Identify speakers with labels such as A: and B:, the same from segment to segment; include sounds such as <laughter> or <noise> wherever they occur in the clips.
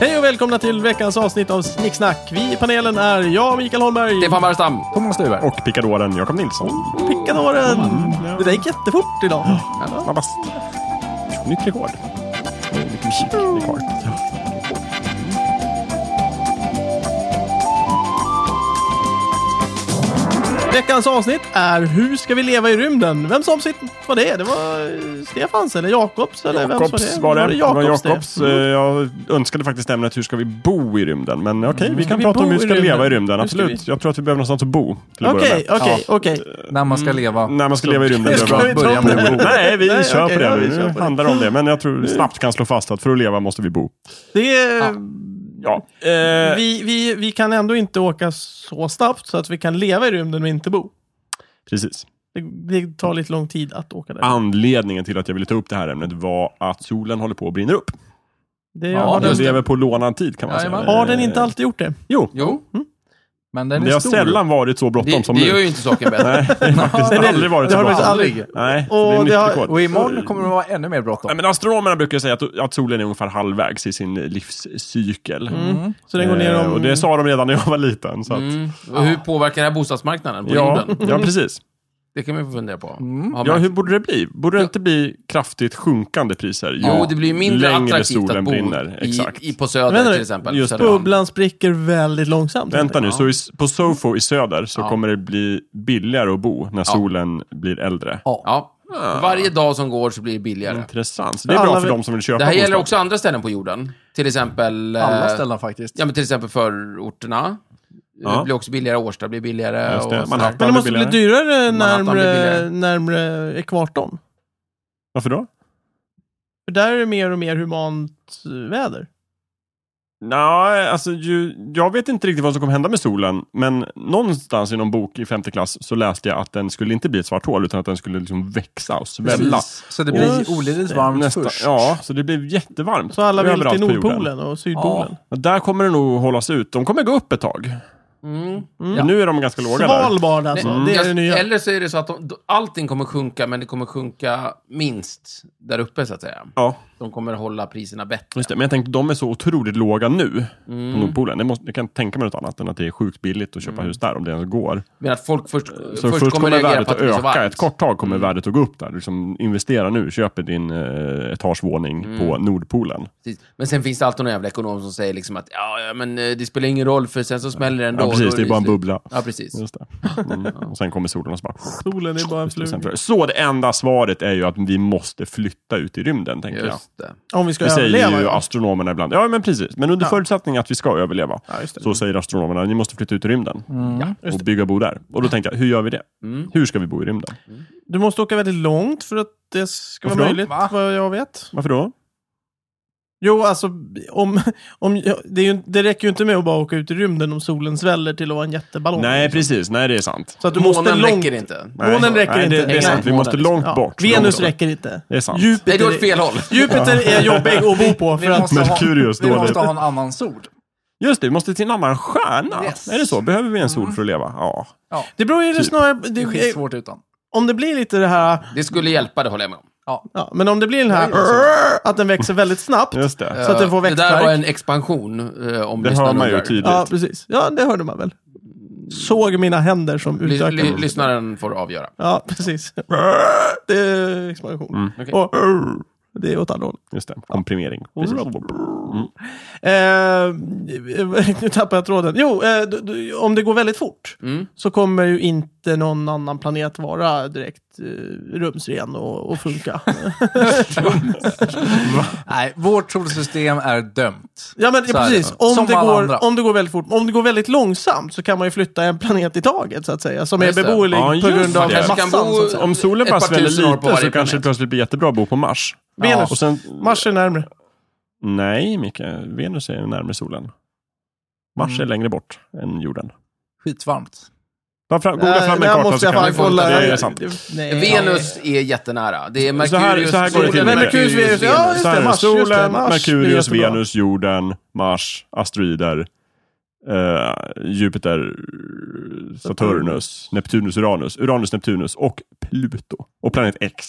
A: Hej och välkomna till veckans avsnitt av Snicksnack. Vi i panelen är jag, Mikael Holmberg.
B: Stefan Barstam.
C: Thomas Duver.
D: Och pickadoren Jakob Nilsson.
A: Pickadoren. Det där gick jättefort idag.
D: Snabbast. Nytt rekord. Mycket musik vi har.
A: Veckans avsnitt är Hur ska vi leva i rymden? Vems avsnitt var det? Det var eh, Stefans eller Jakobs? Eller vems var
D: Jakobs
A: det? Mm.
D: var det. Det var
A: Jakobs
D: Jakobs. Eh, Jag önskade faktiskt ämnet Hur ska vi bo i rymden? Men okej, vi
A: Mm. Ska
D: kan
A: vi
D: prata
A: bo
D: om hur
A: i
D: ska vi leva
A: rymden?
D: i rymden.
A: Hur ska
D: Absolut. Jag tror att vi behöver någonstans att bo. till att börja
A: Okej,
D: med.
A: okej, okej.
B: När man ska leva.
D: När man ska leva i rymden.
A: Ska
D: det
A: vi
D: är
A: ta
D: bra.
B: Börja
A: om
B: med
A: det?
B: bo.
D: Nej,
A: <laughs>
D: vi
A: Nej,
D: kör
A: okej,
D: på det
A: ja, vi
D: nu.
A: kör på
D: Nu
A: det.
D: handlar det om det. Men jag tror snabbt kan slå fast att för att leva måste vi bo.
A: Det är... Eh,
D: Ja. Eh.
A: Vi, vi, vi kan ändå inte åka så snabbt så att vi kan leva i rymden men inte bo.
D: Precis.
A: Det, det tar lite lång tid att åka där.
D: Anledningen till att jag ville ta upp det här ämnet var att solen håller på att brinna upp.
A: Det,
B: Ja,
A: har,
D: Den
B: just
A: den,
B: det.
D: lever på lånad tid kan man säga.
B: Jajamän.
A: har den inte alltid gjort det?
D: Jo,
B: Jo.
D: Mm.
B: Men den är
D: det har
B: stor.
D: sällan varit så bråttom
B: det,
D: som
B: det
D: nu.
B: gör ju inte saken bättre.
D: <laughs>
B: <laughs>
D: Nej, det Mm. har faktiskt aldrig varit
A: det
D: så
A: har faktiskt
D: bra.
A: aldrig.
D: Nej,
A: Och
D: så det är
A: det har-
D: nytt rekord.
C: Och imorgon kommer det vara ännu mer
D: Nej,
C: bråttom.
D: men astronomerna brukar säga att, att solen är ungefär halvvägs i sin livscykel.
A: Mm. Så den går ner
D: Eh,
A: om...
D: Och det sa de redan när jag var liten. Så att,
B: Mm. Och Hur påverkar det här bostadsmarknaden på
D: ja, Mm.
B: jorden?
D: ja, precis.
B: Det kan man ju få fundera på. Har
D: Ja,
B: man-
D: hur borde det bli? Borde det inte bli kraftigt sjunkande priser? ju
B: Jo, det blir ju mindre
D: längre
B: attraktivt
D: solen
B: att bo
D: brinner.
B: i,
D: Exakt.
B: i, på Söder
A: Vänta nu,
B: till exempel.
D: just
B: Södermalm.
A: Bubblan spricker väldigt långsamt.
D: Vänta nu, så i, på SoFo i söder så
B: Ja.
D: kommer det bli billigare att bo när
B: Ja.
D: solen blir äldre.
B: Ja. Varje dag som går så blir det billigare.
D: Mm. Intressant. Så det är
A: Alla
D: bra för
A: vill-
D: de som vill köpa
B: Det här gäller
D: bostad.
B: också andra ställen på jorden. Till exempel... eh,
C: Alla ställen faktiskt.
B: Ja, men till exempel förorterna.
D: Ja.
B: Det blir också billigare. Årsta blir billigare.
D: Just det.
B: och
D: Man
B: sådär.
D: haft-
A: Men det måste bli
D: Billigare.
A: dyrare
B: Manhattan blir
A: närmre,
B: billigare.
A: närmre ekvatorn.
D: Varför då?
A: För där är det mer och mer humant eh, väder.
D: Nej, alltså ju, jag vet inte riktigt vad som kommer hända med solen, men någonstans i någon bok i femte klass så läste jag att den skulle inte bli ett svart hål, utan att den skulle liksom växa och svälla.
C: Precis. Så det blir olidligt varmt
D: Nästa,
C: först.
D: ja, så det blev jättevarmt.
A: Så alla vill till
D: överallt på jorden.
A: Nordpolen och Sydpolen.
D: Ja, Där kommer det nog hållas ut. De kommer gå upp ett tag.
B: Mm.
D: Men Nu är de ganska låga där.
A: Svalbard alltså,
D: Mm.
B: Nej,
A: det är
B: Mm. jag-
A: det nya.
B: Eller så är det så att de, allting kommer sjunka, men det kommer sjunka minst där uppe, så att säga.
D: Ja,
B: De kommer hålla priserna bättre.
D: just det. Men jag tänkte, de är så otroligt låga nu
A: Mm.
D: på Nordpolen. Det måste, jag kan inte tänka mig något annat än att det är sjukt billigt att köpa hus där, om det ens går.
B: Men att folk först,
D: Så först, kommer, värdet att öka. Ett kort tag kommer värdet att gå upp där. Liksom, investera nu, köper din eh, etagevåning på Nordpolen.
B: Precis. Men sen finns det alltid någon jävla ekonom som säger liksom att ja, ja, men eh, det spelar ingen roll för sen så smäller det ändå.
D: Ja,
B: och
D: precis,
B: då
D: det är bara en
B: slut.
D: bubbla.
B: Ja, precis.
D: Just det. Mm. Och sen kommer solen och så bara...
A: Solen är bara en
D: Just det, sen
A: fluga.
D: tror jag- Så det enda svaret är ju att vi måste flytta ut i rymden, tänker jag.
B: Just det.
A: Om vi ska
D: Det säger
A: överleva.
D: ju
A: ja.
D: astronomerna ibland. Ja, men precis. Men under förutsättning att vi ska överleva, så säger astronomerna, ni måste flytta ut i rymden. och bygga bo där. Och då tänker jag, hur gör vi det? Hur ska vi bo i rymden?
A: Du måste åka väldigt långt för att det ska
D: Varför
A: vara
D: då?
A: möjligt,
C: Va?
A: vad jag vet.
D: Varför då?
A: Jo, alltså, om, om, ja, det, är ju, det räcker ju inte med att bara åka ut i rymden om solen sväller till att vara en jätteballong.
D: Nej, precis. Nej, det är sant.
A: Så att du
B: Månen
A: måste långt...
B: räcker inte.
D: Nej.
A: Månen räcker
D: Nej, det,
A: inte.
D: Det är sant. Vi
B: Nej.
D: måste
B: Månen
D: långt
A: Ja.
D: bort.
A: Venus
D: Långt bort.
A: räcker inte.
D: Det är sant.
B: Nej, det går
A: Jupiter,
B: åt fel håll.
A: Jupiter är jobbig att bo på
C: Vi
A: för att
C: måste ha-
D: Merkurius
C: Vi
D: dåligt.
C: måste ha en annan sol.
D: Just det, vi måste till en annan stjärna.
C: Yes.
D: Är det så? Behöver vi en sol
A: Mm.
D: för att leva? Ja.
A: Det beror ju
D: Typ.
A: snarare...
C: Det är
A: Det,
C: skitsvårt utan.
A: om det blir lite det här...
B: Det skulle hjälpa, det håller jag med om.
A: Ja, men om det blir den här...
C: Ja,
A: Att den växer väldigt snabbt.
D: Just det.
A: Så att den får
B: Det där
A: växtvärk.
B: var en expansion, eh, om
D: Det hör
B: lyssnaren
D: man ju
B: undrar.
D: tydligt.
A: Ja, precis. Ja, det hörde man väl. Såg mina händer som
B: Ly- ly-
A: utökades.
B: Lyssnaren får avgöra.
D: Eh,
A: Ja, precis. Det är expansion.
B: Okej.
A: Och det är åt andra hållet.
D: Just det. Komprimering. Precis. Mm.
A: Eh, nu tappar jag tråden. Jo, eh, du, du, om det går väldigt fort
B: Mm.
A: så kommer ju inte någon annan planet vara direkt eh, rumsren och, och funka.
C: Nej, vårt solsystem är dömt.
A: Ja men
C: Så
A: ja,
C: är
A: precis.
C: det.
A: Om
C: Som
A: det,
C: alla
A: går,
C: andra.
A: om det går väldigt fort. Om det går väldigt långsamt så kan man ju flytta en planet i taget så att säga. Som är
B: Just det.
A: beboelig
D: Ja,
A: på
D: just
A: grund av
D: det. Man
B: kan
A: massan.
B: bo-
A: så att säga.
D: Om solen
B: Ett
D: bara
B: par
D: sväller
B: tusen år på
D: lite
B: varje
D: så kanske det
B: planet.
D: plötsligt blir jättebra att bo på Mars.
A: Venus.
D: Och sen,
A: Mars är närmare.
D: nej, Micke. Venus är närmare solen. Mars
A: Mm.
D: är längre bort än jorden.
C: Skitvarmt.
D: Ta fram, googla
A: Eh,
D: fram en
A: där
D: karta
A: måste
D: så
A: jag
D: kan
A: fan
D: vi få
A: kolla.
D: Det är sant.
A: Nej.
B: Venus är jättenära. Det är Merkurius,
D: Så här- så här går det till.
B: solen,
A: Merkurius, Venus. Ja, just
D: Så här
A: det,
D: är
A: Mars,
D: solen,
A: just det, Mars, det är
D: Merkurius,
A: jättebra.
D: Venus, jorden, Mars, asteroider, eh, Jupiter, Saturnus, Neptunus, Uranus, Uranus, Neptunus och Pluto. Och planet X.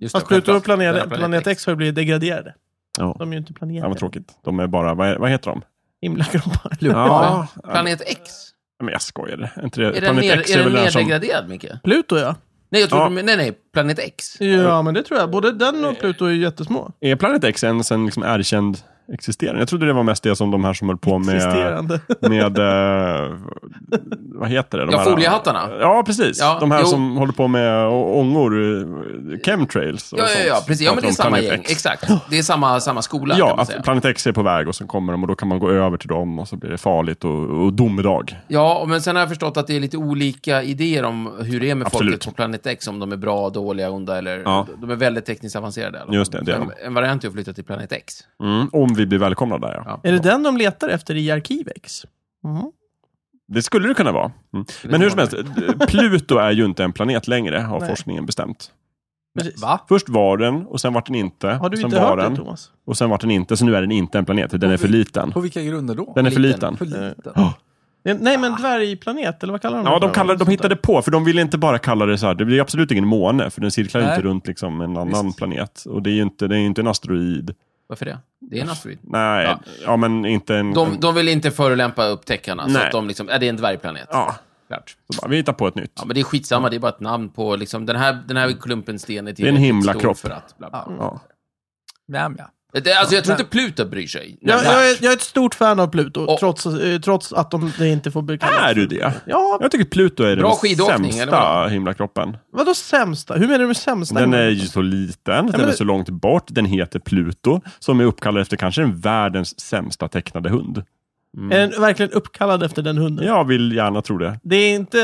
B: Just det,
A: Fast Pluto och
B: självklart.
A: planet,
B: Den här
A: planet X har ju blivit degraderade.
D: Ja.
A: De är ju inte planeter.
D: Ja, vad tråkigt. De är bara, vad, är, vad heter de?
A: Himlakroppar.
D: Ja, ja,
B: Planet X?
D: men jag skojar. Inte det.
B: Är den,
D: Planet
B: ner,
D: X
B: är
D: är
B: den
D: väl den som...
B: nedgraderad, Micke?
A: Pluto ja.
B: Nej, jag tror
D: Ja.
B: de, nej, nej, Planet X.
A: Ja, men det tror jag. Både den
D: Eh.
A: och Pluto är ju jättesmå.
D: Är Planet X ens en liksom erkänd existerande? Jag trodde det var mest det som de här som höll på med...
A: Existerande.
D: med eh, vad heter det? De
B: Ja,
D: här-
B: foliehattarna.
D: Ja, precis.
B: Ja,
D: de här
B: jo.
D: som håller på med å- ångor, eh, chemtrails och
B: Ja, ja,
D: sånt.
B: ja, precis. Ja,
D: Pratar
B: men det är
D: om
B: samma
D: Planet
B: gäng.
D: X.
B: Exakt. Det är samma, samma skola,
D: Ja,
B: kan man säga.
D: att Planet X är på väg och sen kommer de och då kan man gå över till dem och så blir det farligt och, och domedag.
B: Ja, och men sen har jag förstått att det är lite olika idéer om hur det är med
D: Absolut.
B: folket på Planet X, om de är bra, dåliga, onda eller...
D: Ja.
B: De är väldigt tekniskt avancerade. i alla fall.
D: Just det, det är
B: Så en, en variant är att flytta till Planet X.
D: Mm, om vi blir välkomnade där ja.
B: Ja.
A: Är det den de letar efter i Arkivex? Mm.
D: Det skulle det kunna vara. Mm. Men hur som helst, Pluto är ju inte en planet längre har
A: Nej.
D: forskningen bestämt.
A: Precis.
C: Va?
D: Först var den och sen var den inte.
A: Har du
D: sen
A: inte
D: var
A: hört det,
D: den,
A: Thomas?
D: Och sen var den inte, så nu är den inte en planet. Den är för liten.
C: På vilka grunder då?
D: Den är för
B: liten.
D: liten.
C: För liten.
D: Ja.
A: Det- Nej, men dvärgplanet, eller vad kallar de
D: Ja,
A: det för?
D: de, kallade, de hittade på, för de ville inte bara kalla det så här. Det blir absolut ingen måne, för den cirklar ju
C: Nej.
D: inte runt liksom en annan
C: Visst.
D: planet. Och det är ju inte, det är ju inte en asteroid.
B: Varför det? Det är en asteroid.
D: Nej, ja,
B: Ja.
D: men inte en...
B: De, de vill inte förolämpa upptäckarna, så
D: Nej.
B: att de liksom... Är det är en dvärgplanet?
D: Ja,
B: Klart.
D: så bara, vi hittar på ett nytt.
B: Ja, men det är skitsamma, det är bara ett namn på liksom, den här, den här klumpen sten är
D: är en
B: tillräckligt
D: himlakropp.
B: stor för att... Bla, bla.
C: Ja.
D: Ja.
C: Ja, men ja.
B: Det, alltså, jag tror inte Pluto bryr sig.
A: Jag,
B: Nej.
A: jag, är, jag är ett stort fan av Pluto,
B: Och-
A: trots, eh, trots att de det inte får bli kallat.
D: Är du det?
A: Ja,
D: Jag tycker Pluto är
B: Bra
D: den
B: skidåkning, eller
D: sämsta himlakroppen.
A: vadå sämsta? Hur menar du med sämsta?
D: Den är ju så liten, den är
A: men-
D: så långt bort, den heter Pluto, som är uppkallad efter kanske den världens sämsta tecknade hund.
A: Är den verkligen uppkallad efter den hunden?
D: Jag vill gärna tro det.
A: Det är inte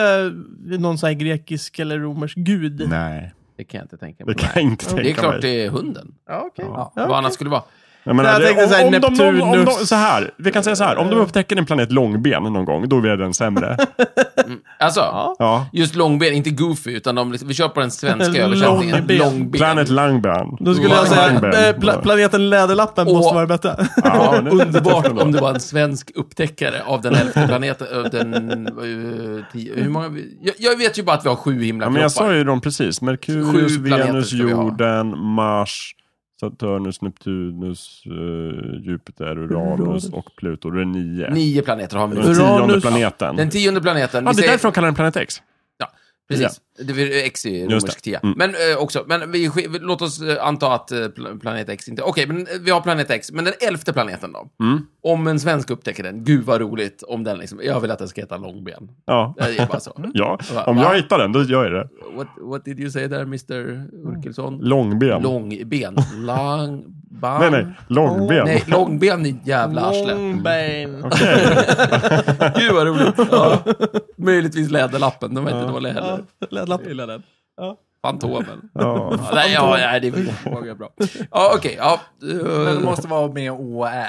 A: eh, någon sån här grekisk eller romersk gud?
D: Nej.
B: Det kan jag inte tänka på.
D: Det kan jag inte
B: Det är
D: tänka
B: klart
D: mig.
B: det är hunden.
A: Ja, okej.
C: Ja.
A: Ja,
B: Vad
A: okej.
B: annars skulle det vara.
D: Jag menar,
A: Jag
D: det,
A: tänkte såhär,
D: om, om, de, någon- om, de,
A: Neptunus.
D: så här, vi kan säga så här, om de upptäcker en planet långben någon gång, då är den sämre.
B: Alltså,
D: Ja.
B: just långben, inte goofy, utan de, liksom, vi kör på den svenska översättningen.
A: Långben.
B: Långben.
D: Planet Langben.
A: Då skulle jag säga
D: Langben.
A: eh, pla planeten Läderlappen
B: Åh.
A: måste vara bättre.
D: Ja,
B: <laughs>
D: det- <laughs>
B: Underbart om det var en svensk upptäckare av den elfte planeten. Ö, Den, ö, tio, hur många, vi- jag, jag vet ju bara att vi har sju
D: Ja, men jag sa
B: himlakroppar.
D: ju dem precis. Merkurius,
B: Sju planeter
D: Venus,
B: ska vi ha.
D: jorden, Mars, Saturnus, Neptunus, eh, Jupiter, Uranus och Pluto. Det är nio.
B: Nio planeter har vi
D: Den
B: nu.
D: tionde
A: Uranus.
D: planeten.
B: Den tionde planeten.
D: Ja,
B: vi
D: det är
B: säger-
D: därför de kallar den planet X.
B: Ja, precis. Det blir X i romersk
D: det.
B: tia.
D: Mm.
B: Men eh, också, men vi, sk- vi- låt oss eh, anta att eh, pl- planet X inte... Okej, men eh, vi har planet X, men den elfte planeten då?
D: Mm.
B: Om en svensk upptäcker den, gud vad roligt om den liksom... Jag vill att den ska heta Långben.
D: Ja.
B: Det är bara så.
D: <laughs> ja,
B: Eh, Va-
D: om
B: va?
D: jag hittar den, då gör jag det.
B: What, what did you say there, Mr. Urkelsson?
D: Mm. Långben.
B: Långben. Langban.
D: Nej, nej. Långben.
B: Nej, långben, ni jävla
A: Mm.
B: arsle.
A: Långben.
B: Gud
D: <laughs>
B: vad roligt. Ja. Möjligtvis Läderlappen, de är inte dåliga heller.
A: Läderlappen. Gillar den.
B: Fantomen.
D: Ja.
B: Ja, nej, ja, nej, det är många bra. Ja, okej. Ja, eh,
C: Men det måste vara med Å och Ä.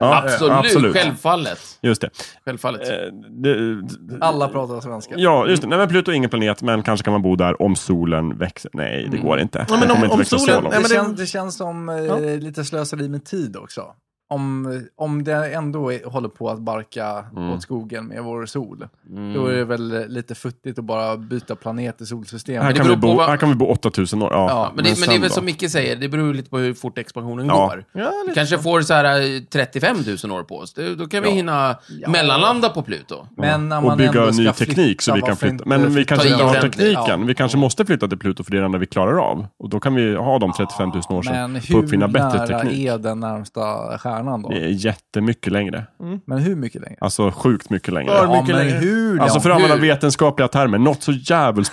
D: Ja,
B: absolut, Självfallet.
D: Just det.
B: Självfallet.
D: Eh, det- det-
C: Alla pratar svenska.
D: Ja, just det. Nej, men Pluto är ingen planet, men kanske kan man bo där om solen växer. Nej,
B: Mm.
D: det går inte. Den
A: men om-
D: kommer inte
A: om
D: växa så
A: solen-
D: långt.
A: nej,
C: Det,
A: men det-
C: känns, det känns som eh, lite slöseri med tid också. Om, om det ändå är, håller på att barka
D: Mm.
C: åt skogen med vår sol, då är det väl lite futtigt att bara byta planet i solsystemet.
D: Här
B: det
D: kan, vi
B: beror på
D: bo,
B: vad-
D: här kan vi bo 8000 år. Ja,
B: ja, men, det, men det är
D: sen
B: väl
D: då?
B: som Micke säger, det beror ju lite på hur fort expansionen
D: Ja.
B: går.
A: Ja,
B: Vi
A: lite.
B: kanske får så här eh, 35 000 år på oss. Det- Då kan vi hinna mellanlanda på Pluto.
C: Men när
D: och bygga
C: ändå ska
D: ny teknik så vi kan
C: varför
D: flytta.
C: inte
D: Men vi kanske
B: in
D: inte har
B: den-
D: tekniken.
C: Ja.
D: Vi kanske måste flytta till Pluto för det är det enda vi klarar av. Och då kan vi ha de 35 000 år
C: Men
D: sedan på att
C: hur
D: uppfinna bättre
C: nära
D: teknik.
C: är den närmsta stjärnan då?
D: Det är jättemycket längre.
C: Men hur mycket längre?
D: Alltså sjukt mycket längre.
A: För
C: Ja,
A: mycket
C: men
A: längre.
C: hur
D: Alltså för att
B: hur?
D: använda vetenskapliga termer, något så jävligt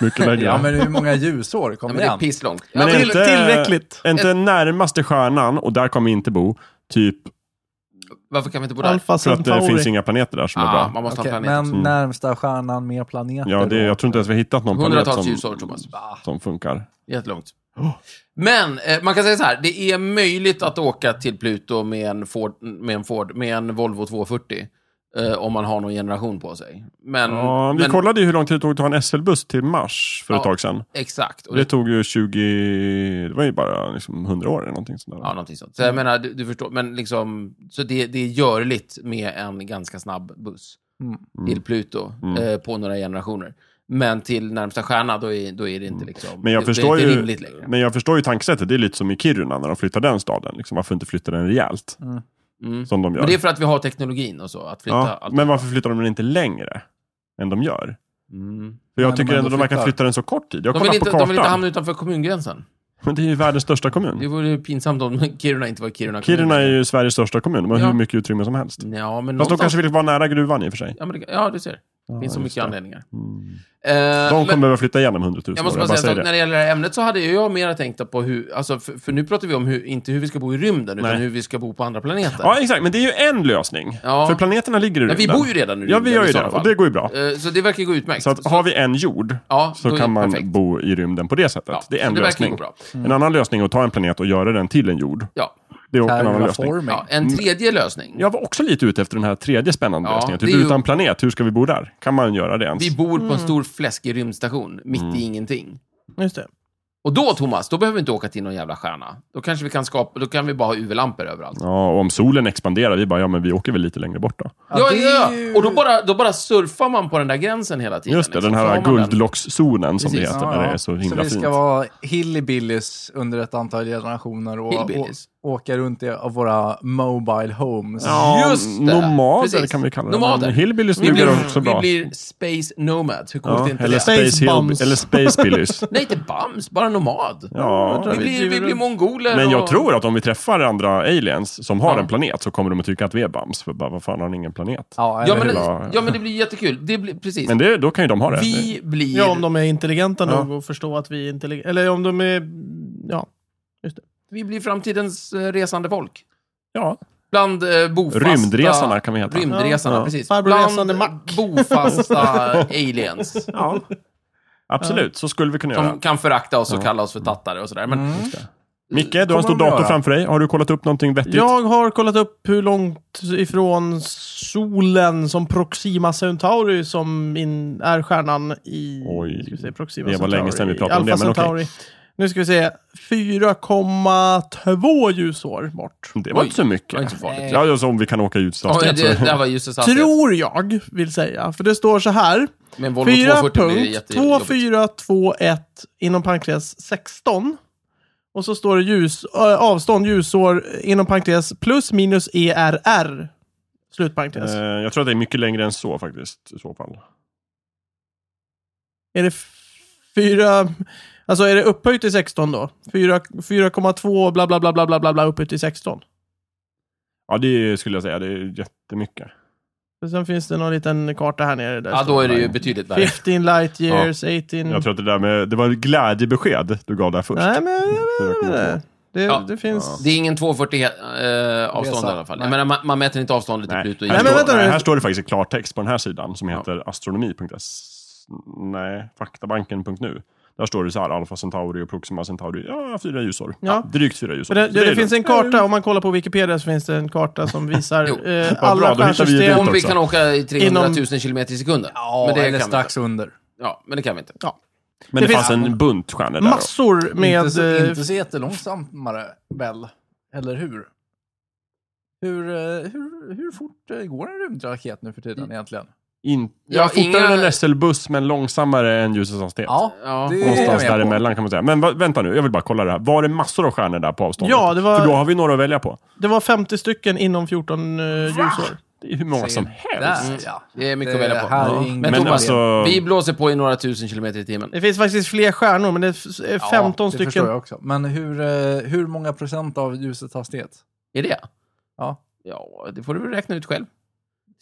C: <laughs>
D: mycket längre.
C: Ja, men hur många ljusår?
B: Ja,
C: Kom
B: men det är
C: igen.
B: pisslångt.
D: Men
B: ja,
D: är
B: men,
A: till-
B: Typ.
A: tillräckligt.
D: Är inte närmaste stjärnan, och där kommer vi inte bo, typ
B: varför kan vi inte bo där?
A: Alfa
D: för att det finns
A: Centauri.
D: inga planeter där som är
B: Ah,
D: bra.
B: man måste
C: Okej,
B: ha en planet.
C: men närmsta stjärnan med planeter
D: Mm. Ja, det,
C: då?
D: jag tror inte ens vi har hittat någon planet
B: Hundratals
D: som,
B: ljusår, Thomas.
D: som funkar.
B: Jättelångt. Men eh, man kan säga så här, det är möjligt att åka till Pluto med en Ford, med en, Ford, med en Volvo 240. Eh, om man har någon generation på sig. Men,
D: Ja, vi
B: men
D: kollade ju hur lång tid det tog att ta en SL-buss till Mars för ett
B: Ja.
D: tag sedan.
B: exakt. Och
D: Och det
B: det,
D: tog ju 20, det var ju bara liksom 100 år eller någonting sånt där.
B: ja, någonting sånt.
D: Mm.
B: Så jag menar, du, du förstår. Men liksom, så det, det är
D: Mm.
B: görligt med en ganska snabb buss till Pluto eh, på några generationer. Men till närmsta stjärna, då är, då är det inte liksom...
D: Men jag
B: det,
D: förstår
B: det är inte
D: ju-
B: rimligt längre.
D: Men jag förstår ju tankesättet. Det är lite som i Kiruna när de flyttar den staden. Liksom, varför inte flytta den rejält?
B: Mm.
D: Som de gör.
B: Men det är för att vi har teknologin och så, att flytta
D: ja,
B: allt.
D: men varför flyttar de den inte längre än de gör?
B: Mm.
D: För jag
C: Men de
D: tycker
C: ändå
D: ändå de verkar
C: flyttar.
D: flytta den så kort tid. Jag
B: De, vill
D: kollar
B: inte,
D: på
B: de vill inte
D: kartan.
B: hamna utanför kommungränsen.
D: Men det är ju världens största
B: Det
D: kommun.
B: vore ju pinsamt om <laughs> Kiruna inte var Kiruna kommun.
D: Kiruna är ju Sveriges största kommun. De har
B: Ja.
D: hur mycket utrymme som helst.
B: Ja, men
D: Fast de
B: någonstans...
D: kanske vill vara nära gruvan i och för sig.
B: ja, men det... ja, du ser. Det
D: Ja,
B: finns så
D: just
B: mycket
D: det.
B: anledningar.
D: Mm.
B: Eh,
D: De kommer behöva flytta igenom 100 000
B: Jag måste
D: år,
B: bara säga en
D: säger
B: sak, när det gäller det här ämnet så hade ju jag mera tänkt på hur, alltså för, för nu pratar vi om hur, inte hur vi ska bo i rymden, utan
D: Nej.
B: hur vi ska bo på andra planeter.
D: Ja, exakt. Men det är ju en lösning.
B: Ja.
D: För planeterna ligger i
B: Men
D: rymden.
B: vi bor ju redan i rymden
D: Ja, vi gör ju
B: i så
D: det. Och
B: fall.
D: det går ju bra.
B: Eh, Så det verkar gå utmärkt.
D: Så att, har vi en jord
B: ja, då
D: så
B: är
D: kan
B: det
D: man
B: perfekt.
D: bo i rymden på det sättet.
B: Ja,
D: det är en
B: så det verkar
D: lösning.
B: gå bra. Mm.
D: En annan lösning är att ta en planet och göra den till en jord.
B: Ja.
D: Det är också en annan lösning.
C: Terraforming.
B: ja,
D: Mm.
B: en tredje lösning.
D: Jag var också lite ute efter den här tredje spännande
B: Ja,
D: lösningen.
B: det
D: Typ
B: är ju-
D: utan planet, hur ska vi bo där? Kan man göra det ens?
B: Vi bor på en stor fläskig rymdstation, mitt
D: Mm.
B: i ingenting.
A: Just det.
B: Och då, Thomas, då behöver vi inte åka till någon jävla stjärna. Då kanske vi kan skapa, då kan vi bara ha UV-lampor överallt.
D: Ja, och om solen expanderar, vi bara, ja men vi åker väl lite längre bort då.
B: Ja,
C: det är
B: ja,
C: ju-
B: ja. Och då bara, då bara surfar man på den där gränsen hela tiden.
D: Just det,
B: liksom.
D: den
B: Så har
D: här
B: man den.
D: guldlockszonen som det
B: Precis.
D: heter, när det är så himla
C: vi
D: fint.
C: ska vara hillbillies under ett antal generationer och, och
B: Hillbillies.
C: åka runt i av våra mobile homes.
D: Ja,
B: Just det.
D: nomader
B: Precis.
D: kan vi kalla det.
B: Nomader.
D: Men Hillbillies
B: Vi
D: duger
B: blir,
D: också bra.
B: vi blir space nomads. Hur coolt
D: ja,
B: är inte
D: eller,
B: det?
A: Space
D: space
A: Bums.
D: Hill- eller Space
B: <laughs>
D: Billies.
B: Nej, inte bams, bara nomad.
D: Ja.
B: Vi blir, vi blir mongoler
D: Men jag
B: och...
D: tror att om vi träffar andra aliens som har
B: Ja.
D: en planet så kommer de att tycka att vi är bams. För bara, vad fan har ni ingen planet?
C: Ja,
B: Ja
C: eller
B: men,
C: hur?
D: Ja.
B: ja, men det blir jättekul. Det blir, precis.
D: Men det, då kan ju de ha det.
B: vi blir...
A: Ja, om de är intelligenta
D: Ja.
A: nog och förstår att vi är intelligenta. Eller om de är... Ja.
B: Vi blir framtidens eh, resande folk.
D: Ja.
B: Bland eh, bofasta...
D: Rymdresarna kan vi heta.
B: Rymdresarna,
D: Ja.
B: precis.
A: Farbror resande
B: Bland eh,
A: mack.
D: <laughs>
B: bofasta aliens.
D: Ja. <laughs> Absolut, så skulle vi kunna göra.
B: Som kan förakta oss och kalla oss för tattare och sådär. Men
D: Micke, du har en
C: kommer
D: stor
C: de
D: dator
C: göra.
D: framför dig. Har du kollat upp någonting vettigt?
A: Jag har kollat upp hur långt ifrån solen som Proxima Centauri som in, är stjärnan i...
D: Oj.
A: ska vi se, Proxima
D: Det var
A: Centauri,
D: länge sedan vi pratade om
A: Alpha
D: det, men okej.
A: Centauri. Nu ska vi se. 4,2 ljusår bort.
D: Det var
B: Oj.
D: inte så mycket.
B: det var inte så farligt.
D: Ja, alltså, om vi kan åka i
B: Oj,
D: ljusavstånd.
B: det, det här var just det satt.
A: Tror jag, vill säga. För det står så här.
B: Men Volvo 240 blir ju jättejobbigt.
A: 4.2421 inom parentes 16. Och så står det ljus, ö, avstånd ljusår inom parentes plus minus E, ERR. Slutparentes.
D: Eh, Jag tror att det är mycket längre än så faktiskt, i så fall.
A: Är det f- fyra... Alltså är det upphöjt till 16 då? Fyra- 4,2 bla bla bla bla bla bla bla upphöjt till 16.
D: Ja, det skulle jag säga. Det är jättemycket.
A: Och sen finns det någon liten karta här nere. Där
B: Ja, då
A: står
B: är det ju betydligt värre.
A: 15 light years, 18...
D: Jag tror att det där med... Det var ett glädjebesked du gav där först.
A: Mm. Nej, men jag vet inte.
D: 4,2.
A: Det,
B: Ja.
A: det finns...
B: Det är ingen 240 eh, avstånd
C: Resa.
B: i alla fall.
C: Nej.
B: Jag menar, man, man mäter inte avståndet
C: Typ
B: till
D: Nej.
B: Pluto.
D: här,
A: Nej, men
D: står,
A: vänta nu.
D: nej, här står det faktiskt i klartext på den här sidan som heter astronomi.se. Nej, faktabanken.nu. Där står det så här, Alfa Centauri och Proxima Centauri. Ja, fyra ljusår. Ja. drygt fyra ljusår.
A: Men det,
D: Så
A: det,
D: är
A: det finns en karta, om man kollar på Wikipedia så finns det en karta
D: <laughs>
A: som
B: Jo.
A: visar eh,
D: Vad bra,
A: alla
D: då hittar vi ju
A: stjärnsystem.
B: Om vi
D: också.
B: kan åka i 300 000
A: Inom-
B: kilometer i sekunden.
C: Ja,
B: men det
C: eller
B: kan
C: strax
B: Vi inte.
C: under.
B: Ja, men det kan vi inte.
A: Ja.
D: Men det,
A: det
D: fanns
A: finns-
D: en bunt stjärnor där. då.
A: Massor med...
C: inte, så,
A: eh,
C: inte så jättelångsammare väl? Eller hur? Hur, eh, hur, hur fort eh, går en rymdraket nu för tiden egentligen?
D: In,
B: Ja,
D: ja, fortare
B: inga-
D: än en SL-buss, men långsammare än ljusets hastighet.
C: Ja,
B: Ja.
C: det är jag
D: Någonstans
C: med på.
D: däremellan kan man säga. Men va, vänta nu, jag vill bara kolla det här. Var det massor av stjärnor där på avstånd?
A: Ja, det var-
D: För då har vi några att välja på.
A: Det var 50 stycken inom 14 eh, ljusår.
D: Det är hur många som helst. Mm.
C: Där, ja.
B: Det är mycket
C: Det
B: att välja på.
C: här är
B: Ja.
C: ingen
B: Men,
D: Men
B: Thomas,
D: alltså-
B: vi blåser på i några tusen kilometer i timmen.
A: Det finns faktiskt fler stjärnor, men det är f- 15
C: det förstår jag
A: stycken.
C: också. Men hur, eh, hur många procent av ljusets hastighet?
B: Är det?
C: Ja.
B: Ja, det får du väl räkna ut själv.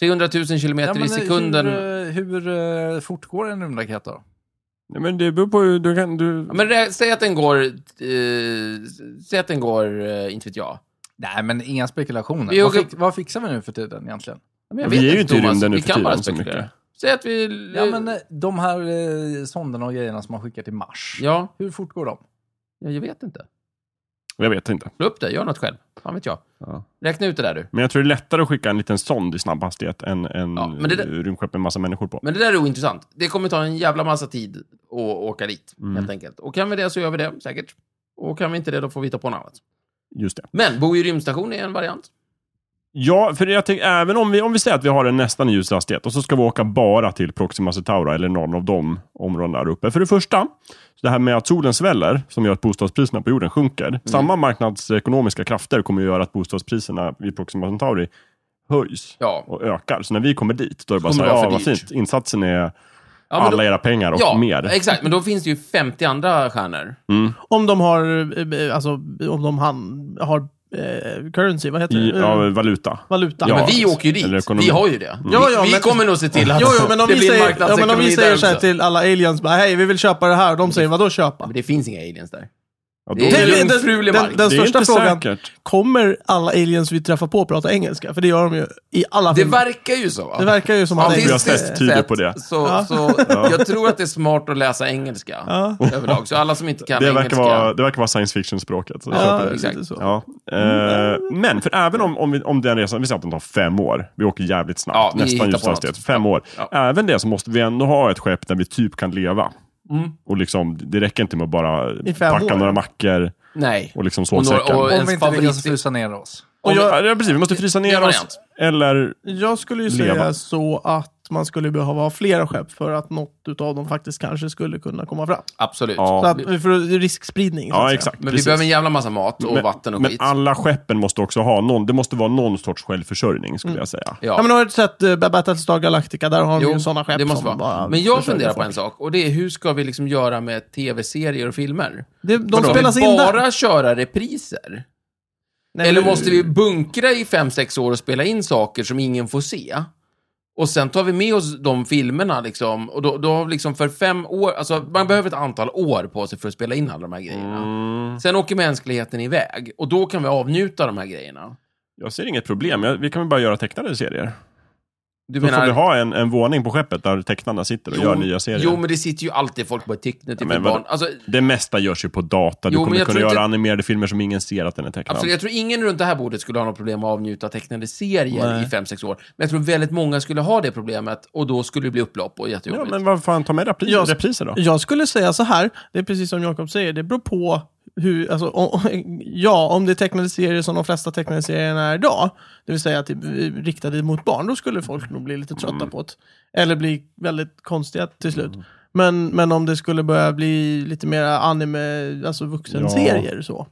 B: 300 000 kilometer
C: men,
B: i
C: eh,
B: sekunden.
C: Hur, eh, hur eh, fort går en rymdraket då?
D: Nej, men det beror på hur du kan... Du...
B: Ja, men rä- säg att den går... Eh, säg att den går, eh, inte vet jag.
C: Nej, men inga spekulationer.
B: Vi
C: vad,
B: åker-
C: fix, vad fixar vi nu för tiden egentligen?
B: Ja, Men jag
D: Vi
B: vet
D: är ju inte i
B: Thomas.
D: rymden nu
B: Vi
D: för
B: kan bara
D: tiden så mycket.
B: spekulera. Säg att vi...
C: Ja, men eh, de här eh, sonderna och grejerna som man skickar till Mars.
B: ja,
C: Hur fort går de?
B: ja, jag vet inte.
D: Jag vet inte.
B: Slå upp det, gör något själv. Fan vet jag.
D: Ja.
B: Räkna ut det där du.
D: Men jag tror det är lättare att skicka en liten sond i snabb hastighet än en
B: Ja, men det där-
D: rymdskepp med massa människor på.
B: Men det där är ointressant. Det kommer ta en jävla massa tid att åka dit,
D: Mm.
B: helt enkelt. Och kan vi det så gör vi det, säkert. Och kan vi inte det, då får vi ta på något annat.
D: Just det.
B: Men bo i rymdstation är en variant.
D: Ja, för jag tänker, även om vi, om vi säger att vi har en nästan ljus hastighet och så ska vi åka bara till Proxima Centauri eller någon av de områdena där uppe. För det första, så det här med att solen sväller, som gör att bostadspriserna på jorden sjunker.
B: Mm.
D: Samma marknadsekonomiska krafter kommer ju göra att bostadspriserna vid Proxima Centauri höjs
B: Ja.
D: och ökar. Så när vi kommer dit, då är det bara så
B: Kommer
D: här,
B: det vara
D: ja,
B: för
D: vad
B: dyrt."
D: fint. Insatsen är
B: Ja, men
D: alla
B: då-
D: era pengar och
B: ja,
D: mer.
B: exakt. Men då finns det ju 50 andra stjärnor.
A: Om de har, eh, alltså, om de han, har eh, currency, vad heter
D: I,
A: det? Eh,
D: av valuta.
A: Valuta.
D: Ja,
B: men vi
D: precis.
B: åker ju
D: Eller
B: dit.
D: ekonomi. Mm.
B: Vi har ju det.
A: Ja, ja,
B: vi vi
A: men-
B: kommer nog se till att
A: Jo, jo, men om
B: det
A: vi
B: blir
A: säger, ja,
B: marknadsekonomi
A: men om vi säger
B: där
A: så här
B: också.
A: till alla aliens, bara, hej, vi vill köpa det här. De säger, vadå
B: Ja,
A: köpa?
B: men det finns inga aliens där.
D: Ja, då,
B: Det är
A: Den-
B: ju
A: den-
B: jungfrulig
A: den-
B: mark.
A: den-
D: det är
A: största
D: inte
A: frågan-
D: säkert.
A: Kommer alla aliens vi träffar på prata engelska? För det gör de ju i alla
B: Det
A: filmer.
B: verkar ju så. va?
A: det verkar ju som att
D: vi har
A: engelska-
D: sett tyder på det.
B: Så,
A: Ja.
B: så,
D: <laughs>
B: Jag tror att det är smart att läsa engelska
A: Ja.
B: överlag. Så alla som inte kan
D: Det verkar,
B: engelska.
D: vara, det verkar vara science fiction-språket. Så jag köper
A: Ja,
D: det.
A: exakt.
B: exakt.
A: Så.
D: Ja. Eh, men för även om, om, vi, om den resan, vi säger att den tar fem år, vi åker jävligt snabbt,
B: Ja, vi hittar
D: nästan
B: på
D: ljushastighet,
B: något.
D: fem år.
B: Ja.
D: Även det så måste vi ändå ha ett skepp där vi typ kan leva.
B: Mm.
D: Och liksom, det räcker inte med att bara
A: I fem
D: packa
A: år.
D: några mackor
B: Nej.
D: och liksom
B: Och några-
D: sovsäckar.
B: och-
C: Om
B: ens
C: vi inte lyckas
B: favorit-
C: frysa ner oss.
D: Om vi- ja, precis, vi måste frysa
B: Det är
D: ner
B: en
D: oss.
B: variant.
D: Eller,
A: Jag skulle ju
D: Leva.
A: säga så att man skulle behöva ha flera skepp för att något utav dem faktiskt kanske skulle kunna komma fram.
B: Absolut.
D: Ja.
A: Så att, för riskspridning. så att
D: ja
A: säga.
D: exakt.
B: Men vi
D: precis.
B: behöver en jävla massa mat och
D: Men-
B: vatten och
D: Men
B: skit.
D: alla skeppen måste också ha någon, det måste vara någon sorts självförsörjning
B: Mm.
D: skulle jag säga.
A: Ja. men har du sett uh, Battlestar Galactica? Där har de ju sådana skepp
B: det måste
A: som
B: vara.
A: bara
B: Men jag
A: försörjer
B: funderar på
A: folk.
B: en sak och det är hur ska vi liksom göra med tv-serier och filmer?
A: Det, de
B: Ska
A: spelas
B: vi
A: in
B: bara
A: där.
B: köra repriser?
A: Nej,
B: Eller
A: men-
B: måste vi bunkra i 5-6 år och spela in saker som ingen får se? Och sen tar vi med oss de filmerna liksom, och då, då liksom för fem år, alltså man behöver ett antal år på sig för att spela in alla de här grejerna.
D: Mm.
B: Sen åker mänskligheten iväg, och då kan vi avnjuta de här grejerna.
D: Jag ser inget problem, jag, vi kan väl bara göra tecknade serier.
B: Du
D: Då får vi ha en, en våning på skeppet där tecknarna sitter och gör nya serier.
B: Jo, men det sitter ju alltid folk på ett teckne till
D: men
B: för
D: vad-
B: barn. Alltså,
D: Det mesta görs ju på data. Du
B: Jo, men
D: kommer
B: jag
D: kunna
B: tror
D: göra
B: inte-
D: animerade filmer som ingen ser att den är tecknad.
B: Absolut, jag tror ingen runt det här bordet skulle ha något problem med att avnjuta tecknade serier
D: Nej.
B: i 5-6 år. Men jag tror väldigt många skulle ha det problemet och då skulle det bli upplopp och
D: Ja,
B: jättejobbigt.
D: men vad fan, ta med repriser,
A: Jag-
D: repriser då.
A: Jag skulle säga så här, det är precis som Jakob säger, det beror på hur, alltså, om, <laughs> ja, om det är tecknade serier som de flesta tecknade serierna är idag, det vill säga typ, eh, riktade mot barn, då skulle folk nog bli lite trötta
D: Mm.
A: på det. Eller bli väldigt konstiga till slut. Men, men om det skulle börja bli lite mer anime, alltså vuxenserier så,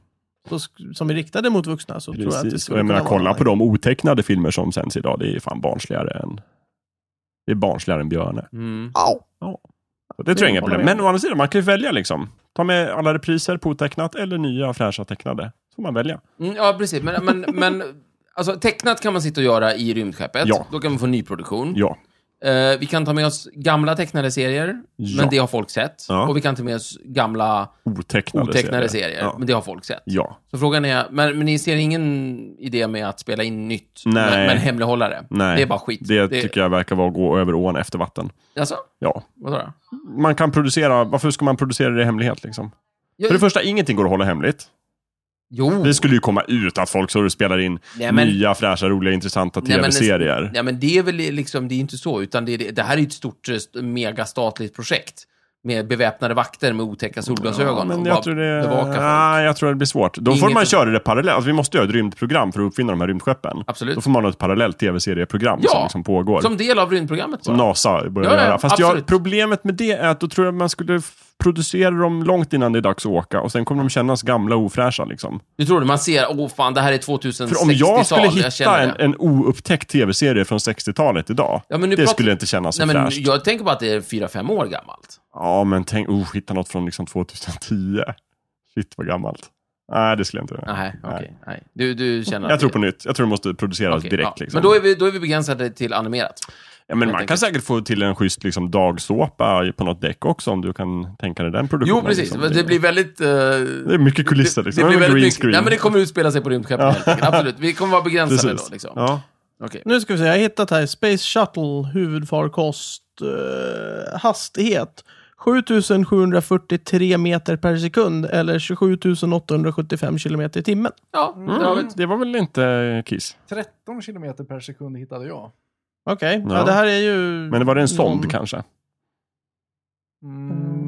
A: så, sk- som är riktade mot vuxna så tror jag att det
D: Precis.
A: skulle
D: Och jag menar,
A: kunna vara
D: kolla på
A: någonting.
D: de otecknade filmer som sänds idag. Det är fan barnsligare än... Det är barnsligare än Björne.
B: Mm.
A: Au!
D: Så Det tror jag är inga
A: håller
D: problem.
A: jag
D: Men å andra sidan, man kan ju välja liksom. Ta med alla repriser på otecknat eller nya fräscha tecknade. Så får man välja.
B: Mm, ja, precis. Men, men, <laughs> men alltså, tecknat kan man sitta och göra i rymdskeppet.
D: Ja.
B: Då kan man få nyproduktion.
D: Ja.
B: Eh, vi kan ta med oss gamla tecknade serier,
D: Ja.
B: men det har folk sett.
D: Ja.
B: Och vi kan ta med oss gamla
D: Otecknade,
B: otecknade serier,
D: Ja.
B: men det har folk sett.
D: ja.
B: Så frågan är, men, men ni ser ingen idé med att spela in nytt,
D: Nej.
B: Men, men hemlighålla det?
D: Nej.
B: Det är bara skit.
D: Det, tycker jag verkar vara att gå över ån efter vatten.
B: Alltså,
D: Ja.
B: vad sa du?
D: Man kan producera... Varför ska man producera det i hemlighet liksom?
B: Jag-
D: För det första, ingenting går att hålla hemligt.
B: Jo.
D: Det skulle ju komma ut att folk så och spelar in
B: Nej, men-
D: nya, fräscha, roliga, intressanta
B: Nej, men det-
D: tv-serier.
B: Nej, men det är väl liksom, det är inte så, utan det, det, det här är ju ett stort, eh, st- megastatligt projekt. Med beväpnade vakter med otäcka solglasögon.
D: Ja, men
B: och
D: jag
B: bara
D: tror, det...
B: bevaka folk.
D: Nej, jag tror det blir svårt. Då
B: Inget
D: får man
B: som-
D: köra det parallellt. Alltså, vi måste göra ett rymdprogram för att uppfinna de här rymdskeppen.
B: Absolut.
D: Då får man ha ett parallellt tv-serieprogram
B: Ja.
D: som liksom pågår. Som,
B: Som del av rymdprogrammet bara.
D: NASA börjar
B: Ja, ja,
D: göra. Fast jag,
B: absolut.
D: problemet med det är att då tror jag man skulle f- producera dem långt innan det är dags att åka och sen kommer de kännas gamla och ofräscha. Liksom.
B: Du tror det, man ser, åh fan, det här är 2060-tal.
D: För om jag skulle
B: jag
D: hitta
B: känner
D: en,
B: det.
D: en oupptäckt tv-serie från 60-talet idag,
B: Ja, men nu
D: det
B: pratar-
D: skulle inte kännas så
B: Nej, men
D: fräscht.
B: jag tänker bara att det är 4-5 år gammalt.
D: Ja, men tänk, oh, hitta något från liksom 2010. Shit vad gammalt. Nej, det skulle jag inte göra.
B: Nej, okej. nej. Du, du känner
D: Jag tror på nytt. Jag tror det måste produceras
B: Okej,
D: direkt.
B: ja.
D: Liksom.
B: Men då är, vi, då är vi begränsade till animerat.
D: ja, men
B: jag
D: man
B: tänker-
D: kan säkert få till en schysst liksom, dagsåpa på något däck också om du kan tänka dig den produktionen.
B: Jo, precis.
D: liksom.
B: men Det blir väldigt... eh,
D: det är mycket kulisser. Liksom.
B: Det blir väldigt
D: green
B: mycket.
D: screen.
B: Nej, men det kommer utspela sig på rymdskeppet helt enkelt. Absolut. Vi kommer vara begränsade
D: precis.
B: då. Liksom.
D: ja.
B: Okej.
A: Nu ska vi se, jag har hittat här. Space Shuttle huvudfarkost eh, hastighet 7743 meter per sekund eller 27 875 kilometer i timmen.
B: Ja, det har vi ett.
D: Mm, Det var väl inte Kiss?
C: 13 kilometer per sekund hittade jag.
A: Okej, ja.
D: Ja.
A: det här är ju...
D: Men det var det en sond
A: någon-
D: kanske?
C: Mm,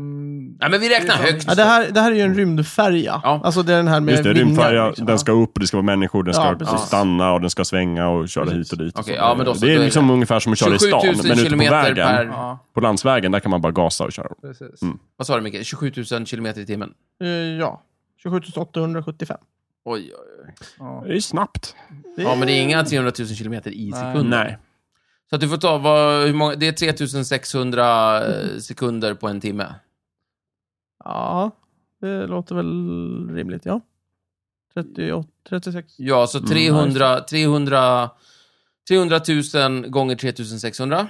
B: Nej, men vi räknar högt.
A: Ja, det, här, det här är ju en rymdfärja.
B: Ja.
A: Alltså det är den här med
D: Just det,
A: vingar,
D: rymdfärja,
A: liksom.
D: den ska upp och det ska vara människor, den ska
A: Ja, precis.
D: stanna och den ska svänga och köra hit och dit. och
B: Okej,
D: så.
B: ja, men då så,
D: det
B: då
D: är
B: är
D: liksom
B: det.
D: ungefär som att köra i
B: 27 000
D: stan, men ute på
B: kilometer
D: vägen,
B: per...
C: Ja,
D: på landsvägen, där kan man bara gasa och köra.
C: precis.
D: Mm.
B: Vad sa du Micke? 27 000 kilometer i timmen?
A: Eh, Ja. 27 875.
B: Oj, oj, oj.
C: Ja.
D: Det är ju snabbt.
A: Det
B: Ja, men det är inga 300 000 kilometer i
C: Nej.
B: sekunden.
D: Nej.
B: Så att du får ta, vad, hur många, det är 3600 eh, sekunder på en timme.
A: Ja, det låter väl rimligt, ja. 38, 36.
B: Ja, så
D: Mm,
B: 300, 300, 300 000 gånger 3600.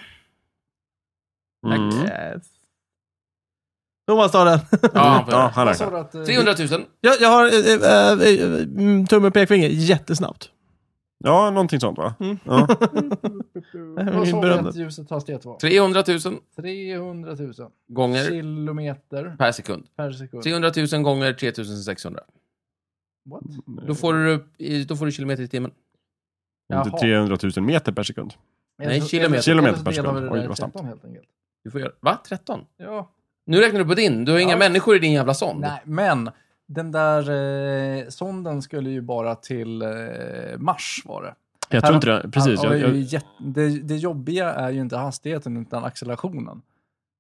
D: Mm.
A: Yes. Thomas tar den.
B: Ja,
D: Mm, Ja,
B: för-
D: han
C: Vad sa
D: räknar.
C: du att, eh, <laughs>
B: 300 000.
A: Jag, jag har eh, eh, eh, mm, tumme och pekfinger jättesnabbt.
D: Ja, någonting sånt va? Ja.
C: Vad
A: Min
C: sa vi
A: berömda.
C: att ljusets hastighet var?
B: 300 000
C: 300 000
B: gånger
C: kilometer
B: per sekund.
C: per sekund.
B: 300 000 gånger 3600.
C: What?
B: Då får du, upp i- då får du kilometer i timmen.
D: Inte
C: Jaha.
D: 300 000 meter per sekund.
B: Nej, kilometer.
D: Kilometer per
C: Eller så delar vi det
D: sekund. Oj,
C: där i
D: vad snabbt.
C: 13 helt enkelt.
B: Du får göra, va? 13?
C: Ja.
B: Nu räknar du på din. Du har inga
C: Ja.
B: människor i din jävla sond.
C: Nej, men den där eh, sonden skulle ju bara till eh, Mars var det.
D: Jag tror inte det. Precis.
C: Här har
D: Jag,
C: vi ju
D: jag,
C: jätt- det, det jobbiga är ju inte hastigheten utan accelerationen.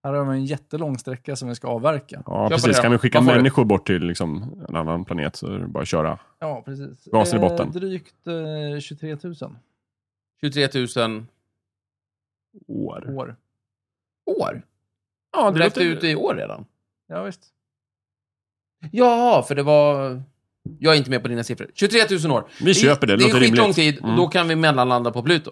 C: Här har vi en jättelång sträcka som vi ska avverka.
D: ja,
B: Köpa det
D: precis.
B: då.
D: Kan vi skicka
B: Vad får du?
D: människor bort till liksom, en annan planet så är det bara att köra.
C: Ja, precis.
D: Gasen i botten.
C: drygt eh, 23 000
B: 23 000
D: År.
C: år.
B: år.
D: Ja,
B: Du räknade ut det i år redan.
C: Ja, visst.
B: Ja, för det var... Jag är inte med på dina siffror. 23 000 år.
D: Vi köper det,
B: Det är
D: låter
B: skitlång
D: rimligt. Mm.
B: tid och då kan vi mellanlanda på Pluto.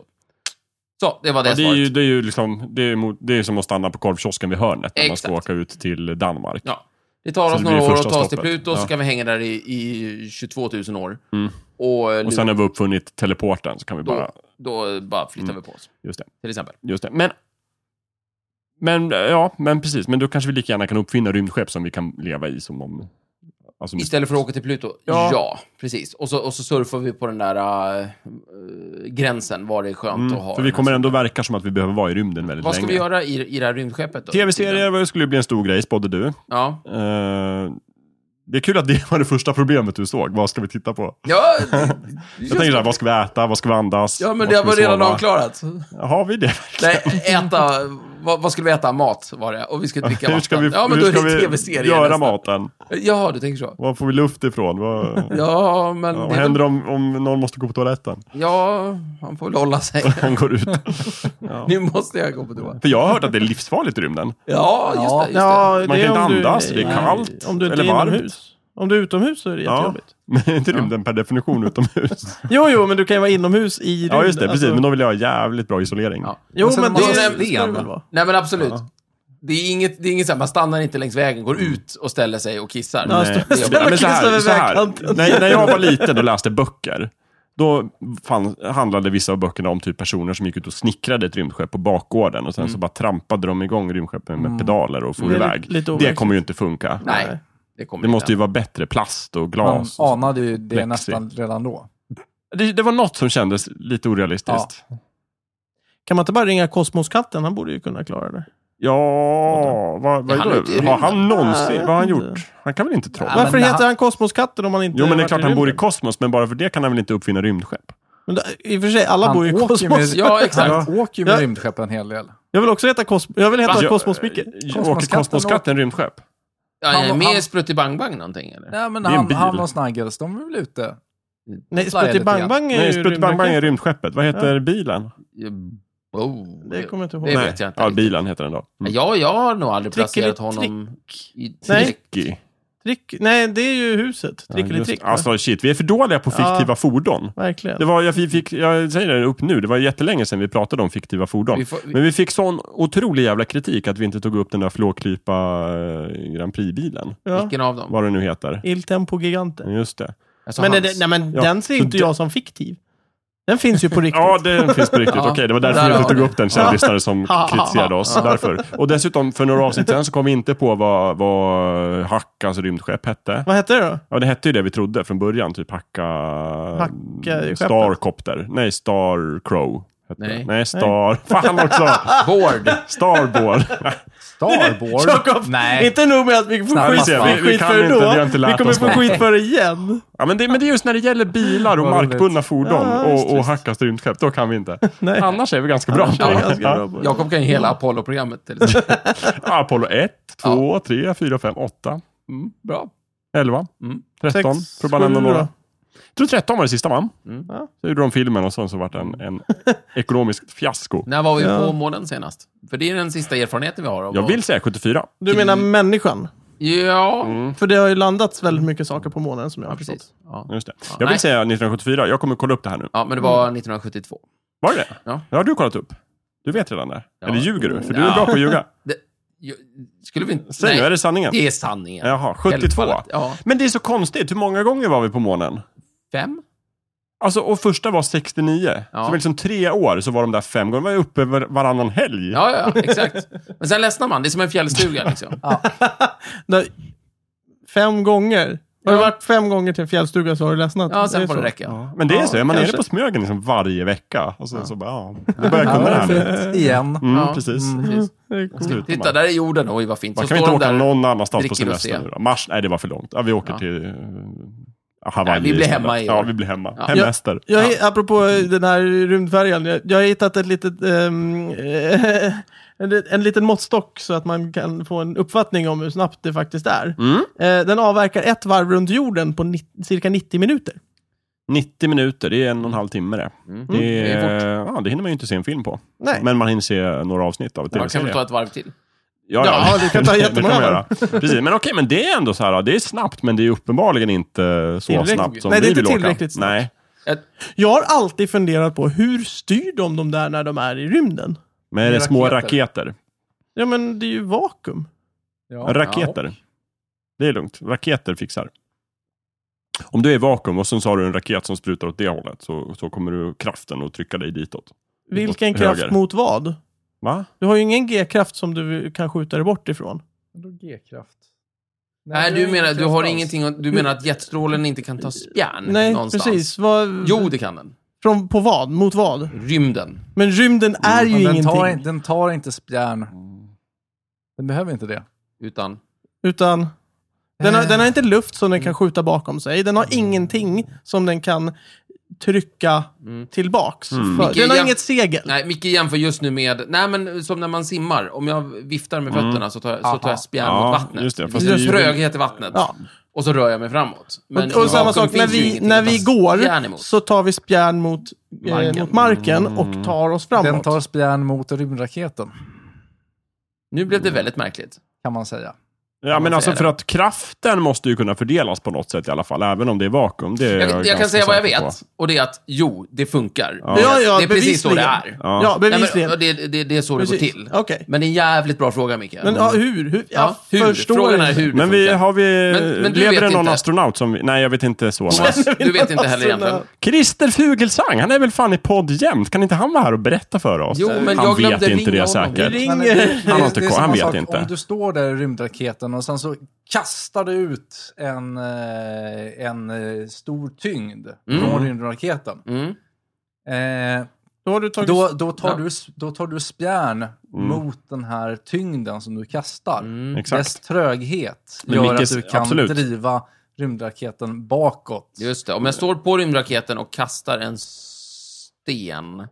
B: Så, det var det
D: Ja, det är
B: svaret.
D: ju, det är ju liksom, det är, mot, det är som att stanna på korvkiosken vid hörnet när man ska
B: Exakt.
D: åka ut till Danmark.
B: Ja. Det tar
D: Så
B: oss
D: det
B: några
D: blir
B: år att
D: första
B: ta oss till
D: stoppet.
B: Pluto,
D: Ja.
B: så kan vi hänga där i, i 22 000 år.
D: Mm.
B: Och, eh,
D: Och sen när vi uppfunnit teleporten så kan vi
B: då,
D: bara...
B: då eh, bara flyttar vi på oss,
D: Mm. Just det.
B: till exempel.
D: Just det. Men, men, ja, men precis. Men då kanske vi lika gärna kan uppfinna rymdskepp som vi kan leva i som om... Alltså,
B: Istället för att åka till Pluto. Ja,
D: Ja.
B: precis. Och så, och så surfar vi på den där eh, gränsen, var det är skönt att
D: mm,
B: ha.
D: för vi
B: den här
D: kommer ändå
B: saken.
D: verka som att vi behöver vara i rymden väldigt
B: Vad ska
D: länge.
B: vi göra i, i det här rymdskeppet då?
D: Tv-serier skulle ju bli en stor grej, spådde du.
B: Ja.
D: Eh, det är kul att det var det första problemet du såg. Vad ska vi titta på? <laughs>
B: Ja,
D: Jag tänker såhär, vad ska vi äta? Vad ska vi andas?
B: ja, men
D: Vad
B: det
D: ska vi
B: var redan
D: sova?
B: avklarat.
D: Har vi det?
B: Nej, äta... Vad, vad skulle vi äta? Mat var det. Och vi ska dricka
D: <laughs> Hur ska
B: vatten.
D: vi,
B: ja, men
D: hur
B: då
D: ska
B: är det
D: vi
B: tv-serier
D: göra
B: nästan.
D: maten?
B: Jaha, du tänker så.
D: Var får vi luft ifrån? Vad, ja,
B: Ja, men...
D: vad
B: <laughs> det är
D: händer om, om någon måste gå på toaletten?
B: väl- Ja, han får väl hålla sig.
D: Han går ut.
B: <laughs> nu måste jag gå på toa.
D: För jag har hört att det är livsfarligt i rymden. <laughs>
B: Ja, just det. Just det.
D: Man kan inte andas, det är kallt
A: Om du inte
D: eller
A: är
D: varmt.
A: inomhus. Om du är utomhus så är det
D: Ja. <laughs>
A: jättejobbigt.
D: Men är inte rymden per definition utomhus?
A: Jo, jo, men du kan ju vara inomhus i rymden.
D: ja, just det. Precis.
A: Alltså,
D: Men då vill jag ha jävligt bra isolering.
B: Ja.
A: Jo,
C: Men sen
A: men
C: måste
A: det
B: man
A: ska
B: välja.
A: det väl vara.
B: Nej, men absolut. Det är inget, det är inget så här, man stannar inte längs vägen, går ut och ställer sig och kissar.
A: Ja,
B: Nej.
A: stå-
B: jobbigt.
A: ställa
D: men så
A: kissar
D: här,
A: vid
D: så här.
A: vägkanten.
D: När, när jag var liten och läste böcker, då fann, handlade vissa av böckerna om typ personer som gick ut och snickrade ett rymdskepp på bakgården och sen så bara trampade de igång rymdskeppen med pedaler och for
A: Det är
D: iväg.
A: lite- lite
D: det
A: overkligt.
D: kommer ju inte funka.
B: Nej, det kommer
D: Det måste ju
B: inte.
D: vara bättre plast och
C: Man
D: glas. och så.
C: anade ju det
D: Plexi.
C: nästan redan då.
D: Det, det var något som kändes lite orealistiskt. Ja,
A: Kan man inte bara ringa Kosmoskatten? Han borde ju kunna klara det.
D: vad, vad
B: Är han
D: är
B: ute i
D: det? Har han
B: rymden?
D: någonsin, vad har han
A: Nej.
D: gjort? Han kan väl inte trolla?
C: Nej, men
A: Varför
C: det-
A: heter han Kosmoskatten om han inte
D: Jo, men det är
A: varit
D: klart han
A: rymden?
D: bor i kosmos, men bara för det kan han väl inte uppfinna rymdskepp?
A: Men då- I och för sig, alla
C: Han
A: bor ju i
C: åker
A: kosmos.
C: med-
B: Ja, exakt.
C: Han åker ju med
A: Ja.
C: rymdskepp en hel del.
A: Jag vill också heta, kos... jag vill heta
D: Jag-
A: Kosmos-Micke.
C: eh,
D: eh, Åker
C: Kosmoskatten
D: kosmoskatten rymdskepp?
B: Ja, jag är
C: Han-
B: med
C: han-
B: i Sprutti-Bang Bang någonting, eller?
C: Nej, men
D: Det är en
C: han,
D: bil.
C: han och Snuggles, de är väl ute?
A: Nej,
C: Flyer
A: Sprutti
C: lite
A: Bang
C: grann.
A: Bang är
D: Nej,
A: ju
D: Sprutt Bang Bang är
A: rymden.
D: rymdskeppet. Vad heter bilen?
B: Oh,
A: Det kommer jag inte ihåg.
B: Det
A: Nej.
B: vet jag inte.
D: Ja,
B: riktigt.
D: bilen heter den då. Mm.
B: Ja, jag har nog aldrig
A: Trickeli-
B: placerat honom i...
A: Nej.
D: Tricky.
A: Trick... Nej, det är ju huset.
D: Ja, just-
A: Trickelitrick. va?
D: Alltså shit, vi är för dåliga på fiktiva
A: Ja.
D: fordon.
A: Verkligen.
D: Det var, jag, fick, jag säger det upp nu, det var jättelänge sedan vi pratade om fiktiva fordon.
B: Vi får- vi-
D: Men vi fick sån otrolig jävla kritik att vi inte tog upp den där flåklypa eh, Grand Prix-bilen.
A: Ja.
B: Vilken av dem?
D: Vad den nu heter.
A: Il Tempo Gigante.
D: Just det.
B: Alltså,
A: Men, det,
B: hans.
A: det- nej, men
D: Ja,
A: den ser
D: så
A: inte
D: det-
A: jag som fiktiv. Den finns
D: <laughs>
A: ju på riktigt.
D: Ja, den finns på riktigt.
B: Ja.
D: Okej, det var därför
B: Där
D: vi
B: har
D: inte
B: vi.
D: tog upp den,
A: Ja.
D: känd lyssnare som
A: Ja.
D: kritiserade oss. Därför. Och dessutom, för några avsnitt sen så kom vi inte på vad, vad Hackas rymdskepp hette.
A: Vad hette det då?
D: Ja, det hette ju det vi trodde från början, typ Hacka...
A: Hacka-skeppet.
D: Starcopter. Nej, Starcrow Hette
B: Nej.
D: det. Nej, Star. <laughs> Fan också!
B: Board.
D: Starboard. <laughs>
C: Starboard?
A: Jakob,
B: Nej.
A: inte nog med att vi får
C: Nej,
A: skit,
C: vi-
D: vi
A: skit
D: kan
A: för det
D: inte,
A: då.
D: vi har inte
A: Vi
D: lärt
A: kommer
D: oss
A: få skit för det igen.
D: Ja, men, det, men det är just när det gäller bilar och
C: Vad roligt.
D: markbundna fordon
A: Ja, visst,
D: och, och hackas rymdskepp, då kan vi inte.
A: Nej.
D: Annars är vi ganska bra.
A: Annars är vi ganska bra på det.
B: Jakob kan ju hela Apollo-programmet.
A: <laughs>
B: till exempel.
D: Ja, Apollo 1, 2, 3, 4, 5, 8,
B: Mm, bra.
D: 11,
B: Mm.
D: 13,
A: Sex,
D: för att bara nämna
A: sju
D: några.
A: då.
D: Jag tror 13 var det sista va?
B: Mm.
A: Ja.
D: Så gjorde de filmen och sen så vart det en,
B: <laughs>
D: en ekonomisk fiasko.
B: När var vi
A: Ja.
B: på månen senast? För det är den sista erfarenheten vi har. Av
D: Jag vill säga 74.
A: Du menar människan?
B: Ja,
A: För det har ju landats väldigt mycket saker på månen som jag
B: ja
A: har
B: precis.
A: förstått.
B: Ja.
D: Just det. Jag
B: nej.
D: vill säga 1974, jag kommer kolla upp det här nu.
B: ja, men det
A: Mm.
B: var 1972.
D: Var det det?
B: Ja.
D: Ja, du har kollat upp. Du vet redan det.
B: Ja.
D: Eller ljuger du? För du
B: Ja.
D: är bra på att
B: <laughs>
D: ljuga.
B: Jo, Skulle vi inte...
D: Säg nu, är det sanningen?
B: Det är sanningen.
D: Jaha, 72.
B: Självfallet. Ja.
D: Men det är så konstigt, hur många gånger var vi på månen?
B: Fem?
D: Alltså, och första var 69.
B: Ja.
D: Så det var liksom tre år så var de där fem gånger. De var ju uppe var- varannan helg.
B: Ja, ja, ja, exakt. Men sen ledsnar man. Det är som en fjällstuga liksom.
A: Där, fem gånger. Har du varit fem gånger till en fjällstuga så har du ledsnat.
B: Ja, sen
A: är
B: får det
A: så.
B: räcka.
D: Ja, Men det är
A: Ja,
D: så, är man nere
A: kanske.
D: på Smögen liksom varje vecka. Och sen så bara, ja, nu börjar jag
C: Ja,
D: kunna det här nu.
C: fint. igen.
D: Mm,
B: Ja.
D: precis.
B: Precis.
A: Det är coolt.
D: Slutar
B: Titta,
D: man.
B: där är jorden. Oj, vad fint.
D: Man
B: Så
D: kan
B: står
D: vi inte
B: de
D: åka
B: där.
D: någon annanstans
B: dricker
D: på
B: och
D: semester
B: ser.
D: nu då? Mars? Nej, det var för långt. Ja, vi åker till eh, Hawaii.
B: Nej, vi blir
D: istället.
B: hemma i
D: Ja,
B: år.
D: vi blir hemma.
B: Ja.
D: Hemester.
A: Jag, ja. Apropå den här rymdfärjan, jag, jag har hittat ett litet, ehm, <laughs> eh, en, en liten måttstock så att man kan få en uppfattning om hur snabbt det faktiskt är. Eh, den avverkar ett varv runt jorden på ni, cirka 90 minuter.
D: 90 minuter, det är en och en halv timme det.
B: Mm.
D: Det,
B: Det är
D: är, ja, det hinner man ju inte se en film på.
A: Nej.
D: Men man hinner se några avsnitt av ett
B: Man kan
D: tv-serie.
B: väl ta ett varv till?
D: Ja,
A: Ja, det kan ta
D: <laughs> det
A: jättemånga
D: man
A: år.
D: göra. Precis, men okej, men det är ändå så här, det är snabbt, men det är uppenbarligen inte så
A: Tillräckligt.
D: snabbt som
A: Nej, det
D: vi
A: är inte
D: vill åka.
A: tillräckligt snabbt.
D: Nej,
A: Jag har alltid funderat på hur styr de de där när de är i rymden?
D: men är det
C: Med
D: små
C: raketer.
D: raketer?
A: Ja men det är ju vakuum.
C: Ja.
D: Raketer. Det är lugnt. Raketer fixar. Om du är i vakuum och sen så har du en raket som sprutar åt det hållet så, så kommer du kraften att trycka dig ditåt.
A: Vilken
D: Höger.
A: kraft mot vad?
D: Va?
A: Du har ju ingen G-kraft som du kan skjuta dig bort ifrån.
C: Vadå G-kraft?
B: Nej,
C: det är
B: du menar,
C: ingen
B: du har
C: kraft
B: ingenting, att- du menar att jetstrålen inte kan
C: Mm.
B: ta spjärn
A: Nej,
B: Mm, någonstans?
A: precis. Vad,
B: Jo, det kan den.
A: Från, på vad? Mot vad?
B: Rymden.
A: Men rymden är ju
C: alls. Men Den
A: ingenting.
C: tar, in- den tar inte spjärn.
B: Mm.
C: Den behöver inte det.
B: Utan...
A: Utan den har,
C: Eh.
A: den har inte luft som den kan skjuta bakom sig. Den har ingenting som den kan trycka
C: Mm.
A: tillbaks. För-
B: Vilket
A: Den har
B: jäm-
A: inget segel.
B: Nej, Micke jämför just nu med... Nej, men som när man simmar. Om jag viftar med fötterna så tar jag, så tar jag spjärn
D: Ja,
B: mot vattnet.
D: just det.
B: det
D: Fast
B: finns
D: det
B: en
D: är ju-
B: tröghet i vattnet.
A: Ja.
B: Och så rör jag mig framåt. Men
A: och och
B: i
A: samma
B: vakuum
A: sak, när
B: finns ju
A: vi,
B: ingenting
A: när
B: att ta
A: vi
B: spjärn
A: går
B: emot.
A: så tar vi spjärn mot eh,
B: Marken.
A: mot marken och tar oss framåt.
C: Mm. Den tar spjärn mot rymdraketen,
B: Nu blev
D: Mm.
B: det väldigt märkligt.
C: kan man säga.
D: Ja, men
B: man
D: alltså
B: säga
D: för
B: det?
D: att kraften måste ju kunna fördelas på något sätt i alla fall, även om det är vakuum. Det är
B: Jag, jag,
D: ganska
B: kan säga vad jag
D: säker på.
B: vet. Och det är att, jo, det funkar.
D: Ja.
B: Det,
A: Ja, ja,
B: det är precis så det
A: bevisligen.
B: är.
D: Ja.
A: Ja,
B: Nej,
A: bevisligen.
B: men, och det, det, det är så det går
A: Precis.
B: till.
A: Okej.
B: Men det är en jävligt bra fråga, Micke.
A: Men ja, hur? hur? Jag
B: Ja, hur?
A: förstår
B: Frågan är
A: inte. <laughs>
B: hur det
D: Men vi,
B: funkar.
D: har vi,
B: Men- men du
D: lever
B: vet
D: det någon
B: inte.
D: astronaut som vi, Nej, jag vet inte
B: <laughs>
D: så.
B: Thomas,
A: Känner vi
B: du vet
A: någon
B: inte heller egentligen.
A: astronaut?
D: Christer Fuglesang, han är väl fan i podd jämt? Kan inte han vara här och berätta för oss?
B: Jo, men
D: han
B: jag glömde
D: vet inte
B: ringa
D: det
B: honom.
D: säkert.
A: Vi
C: Men
A: ringer.
C: det-
D: Han har
C: det-
D: inte
C: det är
D: koll, han
C: samma
D: vet
C: sak
D: inte.
C: Om du står där i rymdraketen och sen så kastar du ut en, eh, en eh, stor tyngd från rymdraketen.
B: Mm.
C: Eh,
A: Då har du tagit...
C: då, då, tar
B: Ja. Mm.
C: du, s- då tar du spjärn mot den här tyngden som du kastar. Dess
D: Exakt.
C: tröghet
D: Men
C: gör
D: Mickes-
C: att du kan
D: absolut.
C: driva rymdraketen bakåt.
B: Just det. Om jag står på rymdraketen och kastar en sten,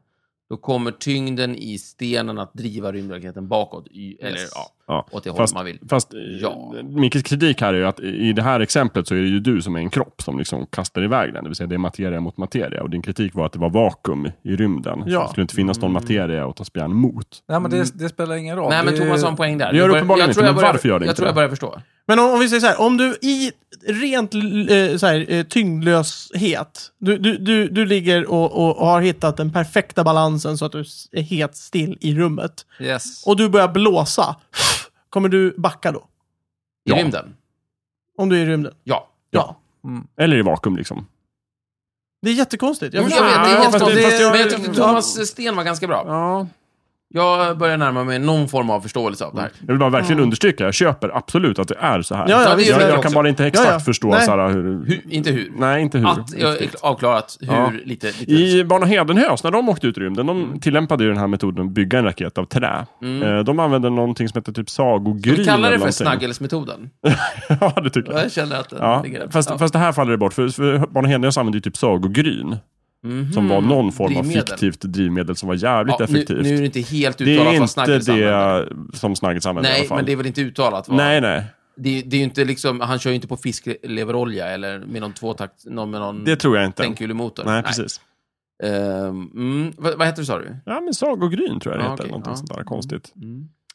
B: då kommer tyngden i stenen att driva rymdraketen bakåt. I, eller
C: Yes.
B: ja,
D: Ja,
B: åt det hållet
D: fast,
B: man vill.
D: Fast
B: Ja.
D: ja. Mickes kritik här är ju att i det här exemplet så är det ju du som är en kropp som liksom kastar iväg den. Det vill säga det är materia mot materia. Och din kritik var att det var vakuum i rymden.
A: Ja.
D: Så det skulle inte finnas någon materia att ta spjärn mot.
C: Nej, men det, det spelar ingen roll.
B: Nej, men
C: Det är ju-
B: Thomas har en poäng där.
D: Det gör
B: Jag bör-
D: uppenbarligen
B: jag
D: inte,
B: tror jag
D: men
B: börjar-
D: varför gör det
B: Jag
D: inte
B: tror
D: det?
B: jag börjar förstå.
A: Men om, om vi säger så här, om du i rent eh, så här, eh, tyngdlöshet, du, du, du, du ligger och, och har hittat den perfekta balansen så att du s- är helt still i rummet.
C: Yes.
A: Och du börjar blåsa, kommer du backa då?
B: I
D: Ja.
B: rymden?
A: Om du är i rymden?
B: Ja.
A: Ja.
D: Eller i vakuum liksom.
A: Det är jättekonstigt. Jag
B: Mm. Jag,
A: förstår
B: vet, det
A: inte.
B: är
D: Ja,
B: helt
D: fast det-
B: konstigt.
D: fast jag-
B: Men jag tyckte Thomas Sten var ganska bra.
D: Ja.
B: Jag börjar närma mig någon form av förståelse av det här.
D: Jag vill bara verkligen understryka, jag köper absolut att det är så här.
A: Ja, ja,
B: Ja, det
A: visst.
B: gör
D: jag,
B: jag
D: jag
B: också.
D: kan bara inte exakt
A: Ja, ja.
D: förstå
A: Nej.
D: så här, hur...
B: Hur, inte hur.
D: Nej, inte hur.
B: Att jag har avklarat hur,
D: Ja.
B: lite, lite
D: I Barn Hedenhös, när de åkte ut i rymden, de
B: Mm.
D: tillämpade ju den här metoden att bygga en raket av trä. Eh, De använde någonting som heter typ sagogryn.
B: Vi Mm. kallar
D: eller
B: det för
D: någonting.
B: snaggelsmetoden.
D: <laughs> ja, det tycker jag.
B: Jag känner att den
D: Ja,
B: ligger där.
D: fast,
B: Ja.
D: fast det här faller det bort, för, för Barn Hedenhös använde ju typ sagogryn. Som var någon form
B: Mhm. Drivmedel.
D: av fiktivt drivmedel som var jävligt
B: Ja,
D: effektivt.
B: Nu, nu är det inte helt
D: det
B: uttalat
D: är
B: vad
D: inte
B: snaggels använder.
D: det som snaggels använder i alla
B: Nej,
D: fall.
B: men det är väl inte uttalat vad...
D: Nej, nej.
B: Det, det är ju inte liksom, han kör ju inte på fiskleverolja eller med någon tvåtakt, någon med någon
D: Det tror jag inte.
B: tändkulemotor.
D: Nej, precis.
B: Ehm, mm, vad, vad heter det sa du?
D: Ja, men sagogryn tror jag det
B: Ja,
D: heter.
B: okej,
D: Någonting
B: ja. Mm.
D: sånt där konstigt.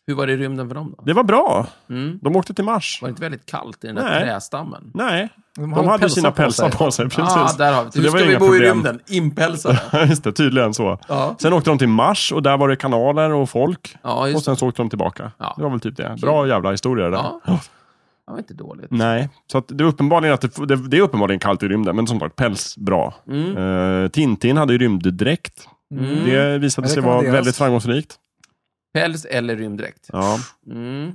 B: Hur var det i rymden för dem då?
D: Det var bra.
B: Mm.
D: De åkte till Mars.
B: Var det inte väldigt kallt i den där
D: Nej.
B: trästammen?
D: Nej, de,
C: har
D: hade ju
C: pälsar
D: sina
C: på sig.
D: pälsar på sig. Precis.
B: Ah, där har vi.
D: Så
B: Hur
D: det var
B: ska vi
D: inga
B: bo i
D: problem.
B: rymden? Impälsade.
D: <laughs> Just det, tydligen så.
B: Ja.
D: Sen åkte de till Mars och där var det kanaler och folk.
B: Ja,
D: och
B: just det.
D: sen så åkte de tillbaka.
B: Ja.
D: Det var väl typ det. Bra jävla historia det där.
B: Ja.
D: Ja.
B: Det var inte dåligt.
D: <laughs> Nej, så att det, är uppenbarligen att det, det, det är uppenbarligen kallt i rymden, men som sagt, päls bra. Eh, Tintin hade ju rymddräkt.
B: Mm.
D: Det visade
C: Det
D: sig vara
C: rekommenderas.
D: väldigt framgångsrikt.
B: Päls eller rymddräkt?
D: Ja.
B: Mm.
D: Tom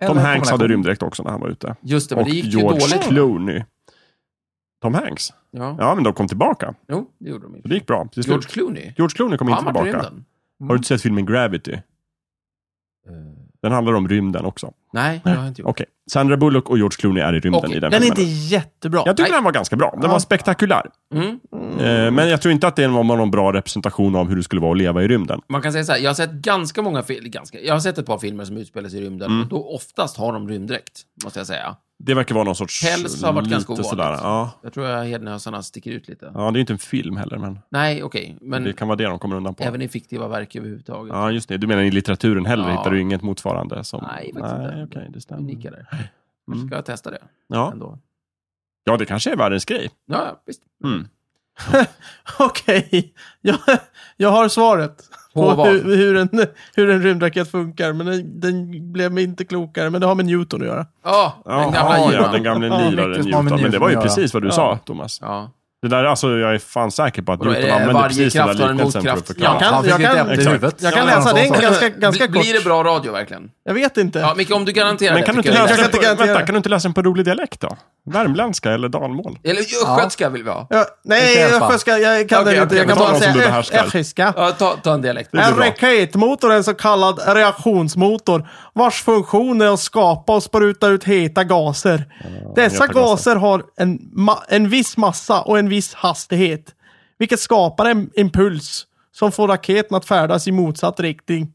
C: Eller
D: Hanks hade
C: kombination.
D: rymddräkt också när han var ute.
B: Just det, men
D: Och
B: det gick ju
D: George
B: dåligt.
D: Clooney. Tom Hanks?
B: Ja.
D: Ja, men de kom tillbaka.
B: Jo, det gjorde de ju.
D: Så det gick bra. Till slut.
B: George Clooney?
D: George Clooney kom
B: Har
D: inte
B: han varit i
D: tillbaka.
B: rymden?
D: Har du inte sett filmen Gravity? Den handlar om rymden också.
B: Nej, det har jag inte gjort.
D: Okej. Sandra Bullock och George Clooney är i rymden
B: Okej,
D: i den,
A: Den är
D: filmen.
A: inte jättebra.
D: Jag tycker
B: Nej.
D: den var ganska bra. Den var spektakulär.
B: Mm.
D: Eh, Men jag tror inte att det var någon bra representation av hur det skulle vara att leva i rymden.
B: Man kan säga så här, jag har sett ganska många filmer, ganska, jag har sett ett par filmer som utspelar sig i rymden,
D: Mm.
B: och då oftast har de rymddräkt, måste jag säga.
D: Det verkar vara någon sorts...
B: Päls har varit
D: lite
B: ganska ovanligt.
D: sådär, ja.
B: Jag tror att hednösarna sticker ut lite.
D: ja, det är ju inte en film heller, men
B: Nej, okej, men
D: det kan vara det de kommer undan på.
B: även i fiktiva verk överhuvudtaget.
D: Ja, just det. Du menar i litteraturen heller
B: Ja.
D: hittar du inget motsvarande? Som...
B: Nej, faktiskt inte.
D: Nej, okej, det stämmer.
B: Unika där. Kanske ska jag testa det
D: Mm. Ja.
B: ändå.
D: ja, det kanske är världens grej.
B: Ja, ja, visst.
D: Mm.
A: <laughs> Okej, jag, jag har svaret.
B: På vad?
A: hur, hur, en, hur en rymdraket funkar, men den, den blev mig inte klokare. Men det har med Newton att göra.
B: Ja, den gamla
D: ja,
B: giran.
D: den gamla
C: Ja,
D: liraren
C: mycket som har med
D: Newton. Men det
C: Newton
D: var ju
C: att göra.
D: precis vad du sa, Thomas.
B: Ja.
D: Det där, alltså, jag är fan säker på att
B: Vadå, är
D: Newton
B: det
D: använde
B: varje
D: precis den där
B: kraft har en
D: liknelsen för att
B: motkraft?
D: förklara.
A: Jag kan-
C: Han fick
A: jag
C: ett
A: kan-
C: äpple i
D: exakt.
C: huvudet.
A: Jag kan
C: Ja,
A: läsa
C: han
A: den
C: sa
A: <clears throat>
C: så.
A: ganska, ganska
B: Blir-
A: kort.
B: Blir det bra radio verkligen?
A: Jag vet inte.
B: Ja, Micke, om du garanterar
D: Men
B: det
D: kan du, inte
B: tycker jag
D: läsa
B: det är
A: jag kan inte
D: den på,
B: bra.
A: garantera.
D: vänta, kan du inte läsa den på rolig dialekt då? Värmländska eller dalmål?
B: Eller östgötska vill vi ha.
A: Jag, nej,
C: Inte hjälpa.
A: östgötska, jag kan
B: Okej,
A: den inte.
B: okej,
A: Jag kan
B: men
A: bara
B: ta
D: någon som du
A: säga
D: behärskar.
A: östgötska.
B: Ja, ta, ta en dialekt.
D: är
A: En
D: bra.
A: raketmotor är en så kallad reaktionsmotor vars funktion är att skapa och spruta ut heta gaser. Dessa
D: heta gaser.
A: gaser har en, ma- en viss massa och en viss hastighet, vilket skapar en impuls som får raketen att färdas i motsatt riktning.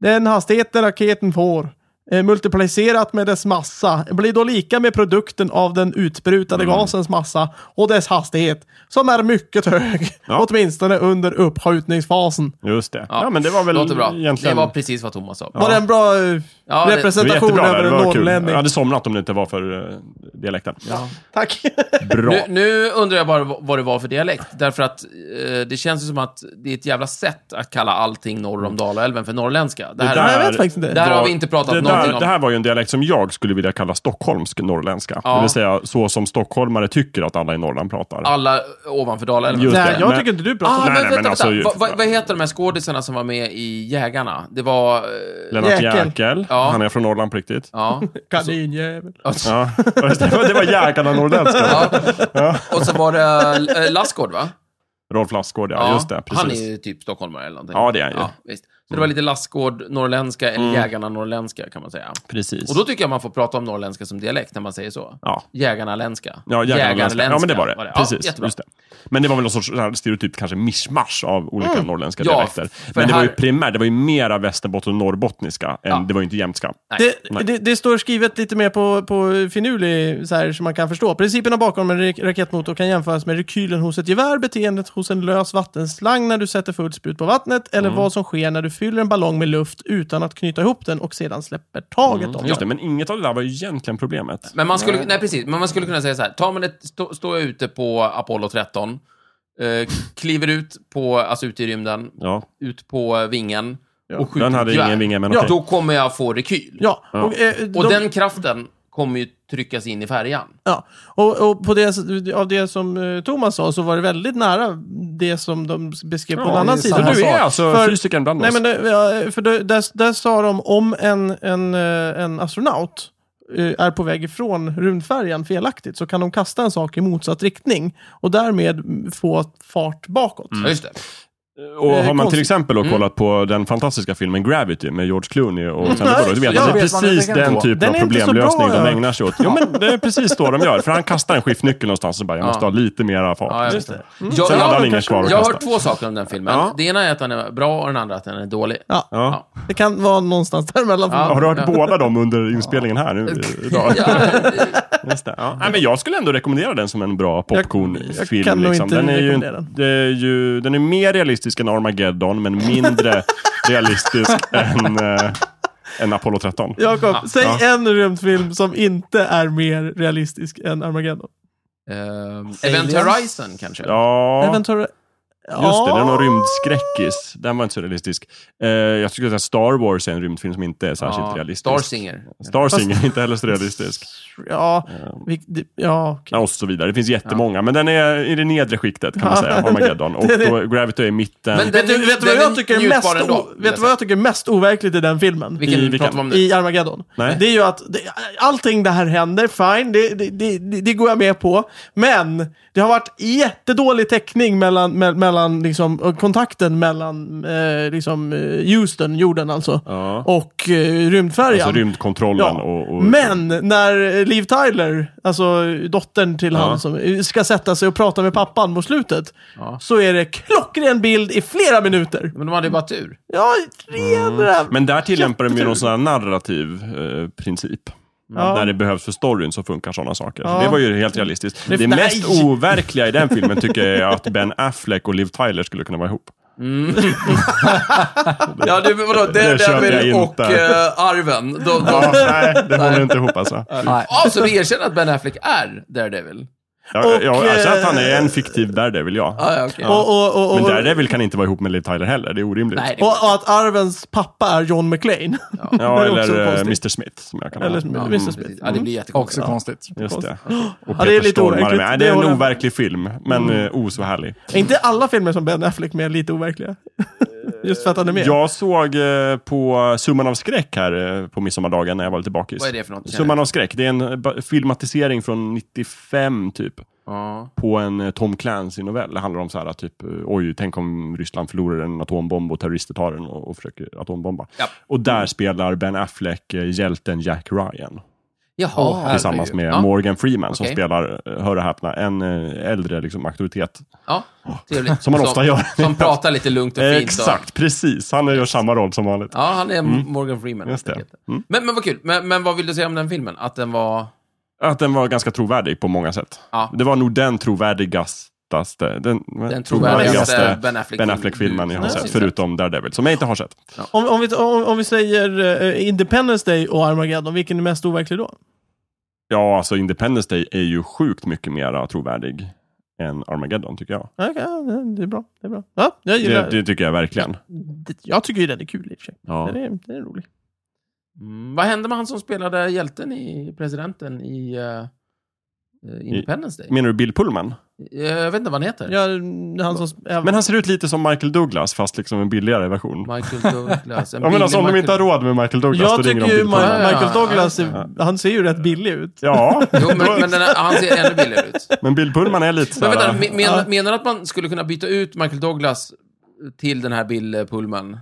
A: Den hastigheten raketen får eh, multiplicerat med dess massa blir då lika med produkten av den utbrutade
D: Mm.
A: gasens massa och dess hastighet, som är mycket hög,
D: Ja.
A: åtminstone under uppskjutningsfasen.
D: Just det. Ja, men det var väl
B: Låter bra.
D: egentligen...
B: Det var precis vad Thomas sa.
A: Var det en bra eh,
B: Ja,
D: Det
B: det-
D: var
A: representation
D: jättebra där,
A: över
D: det
A: en
D: var kul. Jag
A: norrlänning?
D: hade somnat om det inte var för eh, dialekten. <laughs>
A: Tack.
D: Bra.
B: Nu, nu undrar jag bara vad det var för dialekt. Därför att eh, det känns ju som att det är ett jävla sätt att kalla allting norr om Dalälven för norrländska. Det här,
D: där-
A: jag vet faktiskt inte.
B: där har
D: var-
B: vi inte pratat
D: det,
B: någonting
D: där,
B: om.
D: det här var ju en dialekt som jag skulle vilja kalla stockholmsk norrländska.
B: Ja.
D: Det vill säga så som stockholmare tycker att alla i Norrland pratar.
B: Alla ovanför Dalälven.
D: Just
A: Nej,
D: det,
A: jag
D: men-
A: tycker inte du pratar
B: Ah,
A: så.
D: Nej,
B: men,
D: nej,
B: vänta,
D: men alltså,
B: vänta.
D: ju-
B: Va- va- vad heter de här skådisarna som var med i Jägarna? Det var... eh,
D: Lennart
A: Jäkel.
D: Jäkel,
B: Ja.
D: han är från Norrland på riktigt.
B: ja.
D: Alltså,
A: Kaninjävel.
D: Ja. <laughs> just Det var, det var jäkarna norrländska.
B: ja. Och så var det eh, Lassgård, va?
D: Rolf Lassgård, ja, Just det. Precis.
B: Han är ju typ stockholmare eller någonting.
D: Ja, det är han ju. Mm.
B: visst. Så det var lite Lassgård, norrländska, eller Jägarna, norrländska kan man säga.
D: Precis.
B: Och då tycker jag man får prata om norrländska som dialekt när man säger så.
D: Ja.
B: Jägarnaländska.
D: Ja, jägarländska. Ja, men det var det. Precis.
B: Ja, jättebra.
D: just det. Mm. Men det var väl någon sorts så här stereotyp, kanske mischmasch av olika norrländska
B: Mm. Ja,
D: dialekter.
B: för
D: Men det var ju
B: här-
D: primärt, det var ju mera västerbotten och norrbottniska. Än,
B: Ja.
D: Det var ju inte jämtska.
A: Det, det, det står skrivet lite mer på, på finurlig så här som man kan förstå. Principerna bakom en rak- raketmotor kan jämföras med rekylen hos ett gevär, beteendet hos en lös vattenslang när du sätter fullt sprut på vattnet
D: Mm.
A: eller vad som sker när du fyller en ballong med luft utan att knyta ihop den och sedan släpper taget om
D: Mm, Just
A: den.
D: det, men inget av det där var ju egentligen problemet.
B: Men man skulle, nej. precis, men man skulle kunna säga så här. Tar man ett, stå, står jag ute på Apollo 13, eh, kliver ut på, alltså ut i rymden,
D: Ja.
B: ut på vingen och skjuter
D: Den hade
B: ett gevär.
D: ingen vinge, men
B: ja,
D: okej.
B: Då kommer jag få rekyl.
A: Ja, och, eh,
B: Och
A: de-
B: den kraften kommer ju tryckas in i färjan.
A: Ja, och, och på det, av det som eh, Thomas sa så var det väldigt nära det som de beskrev på en annan
C: det är
A: sida.
D: Så
C: samma
A: Du
D: du
A: är-
D: är alltså
A: För-
D: fysikern bland
A: Nej,
D: oss?
A: men det, ja, för det, där, där sa de om en, en, eh, en astronaut eh, är på väg ifrån rymdfärjan felaktigt så kan de kasta en sak i motsatt riktning och därmed mm, få fart bakåt.
D: Mm.
B: Ja, just det.
D: Och
A: Eh,
D: har man till
A: konstigt.
D: exempel då
B: Mm.
D: kollat på den fantastiska filmen Gravity med George Clooney och Sandra
A: Nej,
D: Bullock, då vet
B: ja,
D: man att det är
C: vet man
D: precis
C: vilken
D: den
C: då.
D: typen
A: Den
D: av
A: är inte så
D: problemlösning
A: bra,
D: de
A: ja.
D: ägnar sig åt. Jo, men det är precis då de gör. För han kastar en skiftnyckel någonstans och bara, jag måste
B: Ja.
D: ha lite mera fart.
B: Ja, jag
A: Just det. Mm.
B: Jag,
D: Sen hade han
B: jag,
D: ingen kvar att
B: jag har
D: kasta.
B: hört två saker om den filmen.
D: Ja.
B: Det ena är att den är bra och den andra att den är dålig.
D: <laughs>
A: Ja,
D: Ja.
A: det kan vara någonstans däremellan. för
B: Ja.
A: mig.
D: Har du hört
B: Ja.
D: båda dem under inspelningen här nu eh, idag? Just det. Ja. Nej, men jag skulle ändå rekommendera den som en bra
A: Jag- jag
D: popcornfilm.
A: kan nog
D: liksom.
A: inte
D: den, är ju,
A: rekommendera den.
D: det är ju, den är mer realistisk än Armageddon, men
A: <laughs>
D: mindre realistisk än, eh, än Apollo 13.
A: Jakob, säg
D: Ja.
A: en rymdfilm som inte är mer realistisk än Armageddon.
B: Ehm, Event Horizon kanske?
D: Ja,
A: Event Hori-
D: just det. Det är
A: Ja.
D: någon rymdskräckis. Den var inte så realistisk. Eh, jag skulle säga Star Wars är en rymdfilm som inte är särskilt
B: Ja,
D: realistisk.
B: Star Singer.
D: Star Singer är inte
A: <laughs>
D: heller så realistisk.
A: Ja, vi, det- ja okej.
D: Ja, och så vidare. Det finns jättemånga, men den är i det nedre skiktet kan man säga,
A: <laughs>
D: Armageddon. Och
A: Det är det.
D: då, Gravity är i mitten.
B: Men
A: Vet du,
B: Den är-
A: vet du vad
B: den
A: jag
B: är
A: tycker är
B: njutbar
A: mest,
B: ändå,
A: o-
B: vill jag
A: vet du vad jag tycker är mest overkligt i den filmen?
B: Vilken,
D: I vilken?
B: pratar vi om nu?
A: I Armageddon.
D: Nej.
A: Det är ju att det, allting det här händer, fine, det, det, det, det- det går jag med på. Men det har varit jättedålig täckning mellan, me- mellan liksom, och kontakten mellan eh, liksom, eh, Houston, jorden alltså,
D: Ja.
A: och eh, rymdfärjan.
D: Alltså rymdkontrollen
A: Ja.
D: och... och
A: Men när eh, Liv Tyler, alltså dottern till han som eh, ska sätta sig och prata med pappan mot slutet, så är det klockren bild i flera minuter.
B: Men de hade ju bara tur.
A: Ja,
D: Mm.
A: renare.
D: Men där tillämpar de ju
A: Jättetur.
D: någon sån här narrativ eh, princip.
A: Ja.
D: När det behövs för storyn så funkar sådana saker.
A: Ja.
D: Det var ju helt realistiskt. Det,
A: Det-
D: mest
A: nej.
D: overkliga i den filmen tycker jag är att Ben Affleck och Liv Tyler skulle kunna vara ihop.
B: Ja, det, vadå?
D: Det Daredevil köper jag inte. och, eh,
B: Arven. De,
A: <laughs>
D: Ja, nej, det håller inte ihop alltså.
C: Nej.
B: så vi erkänner att Ben Affleck är Daredevil?
D: Jag,
A: Och,
D: jag, alltså att han är en
A: eh,
D: fiktiv Daredevil, ja.
B: Ah, ja, okej.
A: Och, och, och, och,
D: Men
A: och,
D: Daredevil kan inte vara ihop med Liv Tyler heller, det är orimligt.
B: Nej, det
A: och, att Arvens pappa är John McClane.
D: Ja,
A: <laughs> Det är också
D: eller eh,
A: konstigt.
D: Mr Smith, som jag kallar
A: Eller
D: honom.
A: Mr. Smith.
B: Ja, det blir
C: Också
B: jättekonstigt.
C: konstigt.
D: Just det. Och
A: Ja,
D: Peter
A: det är lite
D: Stormare
A: overkligt.
D: med. Nej,
A: Det
D: Det är
A: håller
D: en
A: jag med.
D: overklig film, men mm. oh så härlig.
A: Är inte alla filmer som Ben Affleck med lite overkliga? <laughs> Just för att han är med.
D: Jag såg eh, på Summan av skräck här eh, på midsommardagen när jag var lite bakis.
B: Vad är det för något?
D: Summan av skräck, det är en eh, ba- filmatisering från 95 typ.
B: Ja.
D: På en eh, Tom Clancy-novell. Det handlar om så här typ, eh, oj, tänk om Ryssland förlorar en atombomb och terrorister tar den och, och försöker atombomba.
B: Ja.
D: Och där spelar Ben Affleck eh, hjälten Jack Ryan.
B: Jaha, herregud.
D: tillsammans med
B: ja.
D: Morgan Freeman som
B: Okej.
D: spelar, eh, hör och häpna, en eh, äldre liksom, auktoritet.
B: Ja, trevligt.
D: Som man ofta gör.
B: Som
D: <laughs>
B: pratar lite lugnt och
D: Eh,
B: fint. Och,
D: Exakt, precis. Han gör samma roll som vanligt.
B: ja, han är Morgan Freeman.
D: Just det. Mm.
B: Men, men vad kul. Men, men vad vill du säga om den filmen? Att den var...
D: Att den var ganska trovärdig på många sätt.
B: Ja.
D: Det var nog den trovärdigaste, den,
B: Den trovärdigaste Ben Mm. Affleck-filmen
D: Ben Affleck-filmen jag har
B: du-
D: sett, förutom Daredevil, som jag inte har sett.
A: Om, om, vi, om, om vi säger eh, Independence Day och Armageddon, vilken är mest overklig då?
D: Ja, alltså Independence Day är ju sjukt mycket mer uh, trovärdig än Armageddon, tycker jag.
A: Ja, ja, det är bra. Det är bra. Ja, jag gillar
D: Det,
A: det,
D: det tycker jag verkligen.
A: Jag tycker ju den är kul i och för sig.
D: Ja.
A: Den, är, den är rolig.
B: Mm. Vad hände med han som spelade hjälten i presidenten i eh, Independence Day?
D: Menar du Bill Pullman?
B: Eh, jag vet inte vad han heter.
A: Ja, det är han som... Ja,
D: Men han ser ut lite som Michael Douglas, fast liksom en billigare version.
B: Michael Douglas.
D: Ja,
B: En
D: men
B: billig
D: alltså om de
B: Michael-
D: inte har råd med Michael Douglas,
A: jag
D: då ringer
A: tycker
D: de
A: ju
D: Bill
A: Ma-
D: Pullman.
A: <laughs>
B: Ja, ja, ja.
A: Michael Douglas,
B: Ja,
A: är, han ser ju rätt billig ut.
D: Ja,
B: Jo, men, men den här, han ser ännu billigare ut.
D: <laughs> men Bill Pullman är lite
B: Men vänta,
D: såhär...
B: men, men, menar du att man skulle kunna byta ut Michael Douglas till den här Bill Pullman?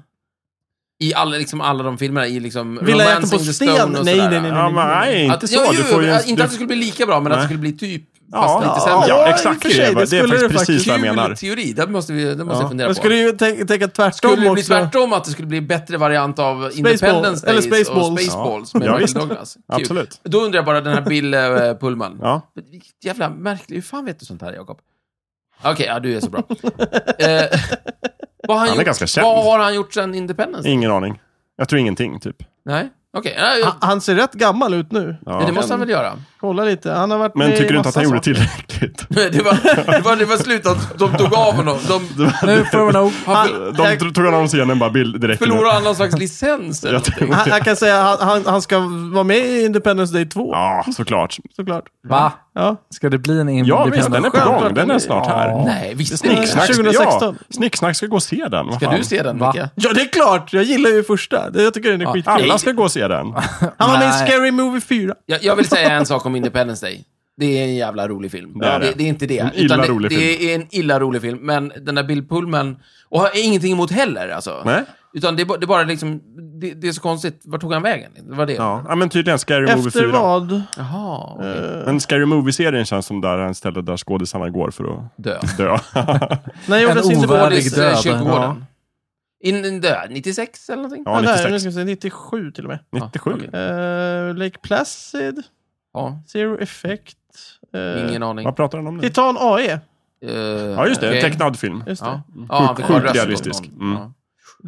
B: I alla, liksom, alla de filmerna? I liksom
A: Vill jag
B: Romancing
A: äta på
B: the
A: sten?
B: Stone och
A: Nej,
B: sådär?
A: nej, nej,
D: Ja, men nej, inte
B: Att,
D: så.
B: ja,
D: du
B: ju,
D: får ju en,
B: inte att det
D: du,
B: skulle bli lika bra, men att
D: Nej.
B: det skulle bli typ, fast
D: ja,
B: lite
D: ja,
B: sämre.
A: Ja, i och
D: exakt.
A: för
D: Det,
A: sig,
D: är-
A: det
D: det är
A: skulle
D: faktiskt
A: det
D: precis
A: faktiskt.
D: vad jag
B: Kul
D: menar.
B: teori, det måste, vi, det måste
D: Ja.
B: jag fundera
A: Jag skulle
B: på.
A: ju tänka, tänka tvärtom
B: Skulle det bli
A: också.
B: tvärtom, att det skulle bli bättre variant av Independence
A: eller
B: Days och
A: Spaceballs.
B: Spaceballs
D: Ja.
B: med
D: Ja,
B: Michael
D: visst.
B: Douglas? Kul.
D: Absolut.
B: Då undrar jag bara, den här Bill eh, Pullman.
D: Ja.
B: Men Vilket jävla märkligt. Hur fan vet du sånt här, Jakob? Okej, ja, du är så bra. eh, vad har han,
D: är
B: gjort,
D: ganska känd.
B: Vad har han gjort sen Independence?
D: Ingen aning. Jag tror ingenting, typ.
B: Nej? Okej, nej,
A: Han, han ser rätt gammal ut nu.
D: Ja.
B: ja, det måste han väl göra.
A: Kolla lite. Han har varit
D: Men
A: med i
D: tycker du inte att
A: massa
D: han
A: saker.
D: gjorde tillräckligt?
B: <laughs> Det var, det var, det var slut att de tog av honom.
D: <laughs>
B: De,
C: Nu får vi nog...
B: han
A: Han-
D: De tro- tog han av scenen bara bild direkt.
B: förlorade all någon slags licens. eller
D: Jag
B: någonting.
D: tänkte-
A: Han, jag kan säga att han, han, han ska vara med i Independence Day 2.
D: Ja, såklart.
A: Såklart.
C: Va?
A: Ja.
C: Ska det bli en
D: Ja, visst, den är på
A: Skönt
D: gång.
A: att
D: Den
A: den
D: är
A: är-
D: snart här.
B: Nej, visst
A: snyggt.
B: inte.
D: Snicksnack ska-
A: 2016.
D: Ja, Snicksnack ska gå och se den. vad
B: Ska
D: fan.
B: du se den,
C: Va?
B: Micke?
A: ja, det är klart! Jag gillar ju första. Det- Jag tycker den är skitkul.
D: Alla ska gå och se
B: <laughs>
D: den.
A: Han var med i
C: Nej.
A: Scary Movie 4.
B: Jag, jag vill säga en sak om Independence Day. Det är en jävla rolig film.
D: Det är det.
B: det, är inte det.
D: En illa
B: utan det,
D: rolig
B: det
D: film.
B: är en illa rolig film, men den där Bill Pullman... Och har ingenting emot heller, alltså.
D: Nej.
B: Utan det, är ba- det är bara liksom... Det, det är så konstigt. Var tog han vägen? Det var det.
D: Ja, Eh. ja, men tydligen Scary Movie
A: Efter
D: 4.
A: vad?
B: Jaha, okej.
D: Men Scary Movie-serien känns som där en ställe där skådisarna går för att
B: dö. <laughs>
D: dö. <laughs>
A: När gjordes
C: ovärdig
A: Independence
B: Dålig
C: död.
B: död. eh, Kyrkogården. In, in död, 96 eller någonting?
D: Ja,
A: Ja, där, nu
D: 96.
A: ska vi se, 97 till och med.
D: 97.
B: Ja, okej.
A: Eh, Lake Placid,
B: Ja,
A: Zero Effect. eh,
B: ingen aning.
D: Vad pratar han om nu?
A: Titan AE.
B: Eh,
D: Ja, just det.
B: okej.
D: Tecknad film.
A: Just det.
B: Ja, ja han fick ha
D: sjukt
B: röst på
D: realistisk.
B: någon.
D: Mm.
B: Ja.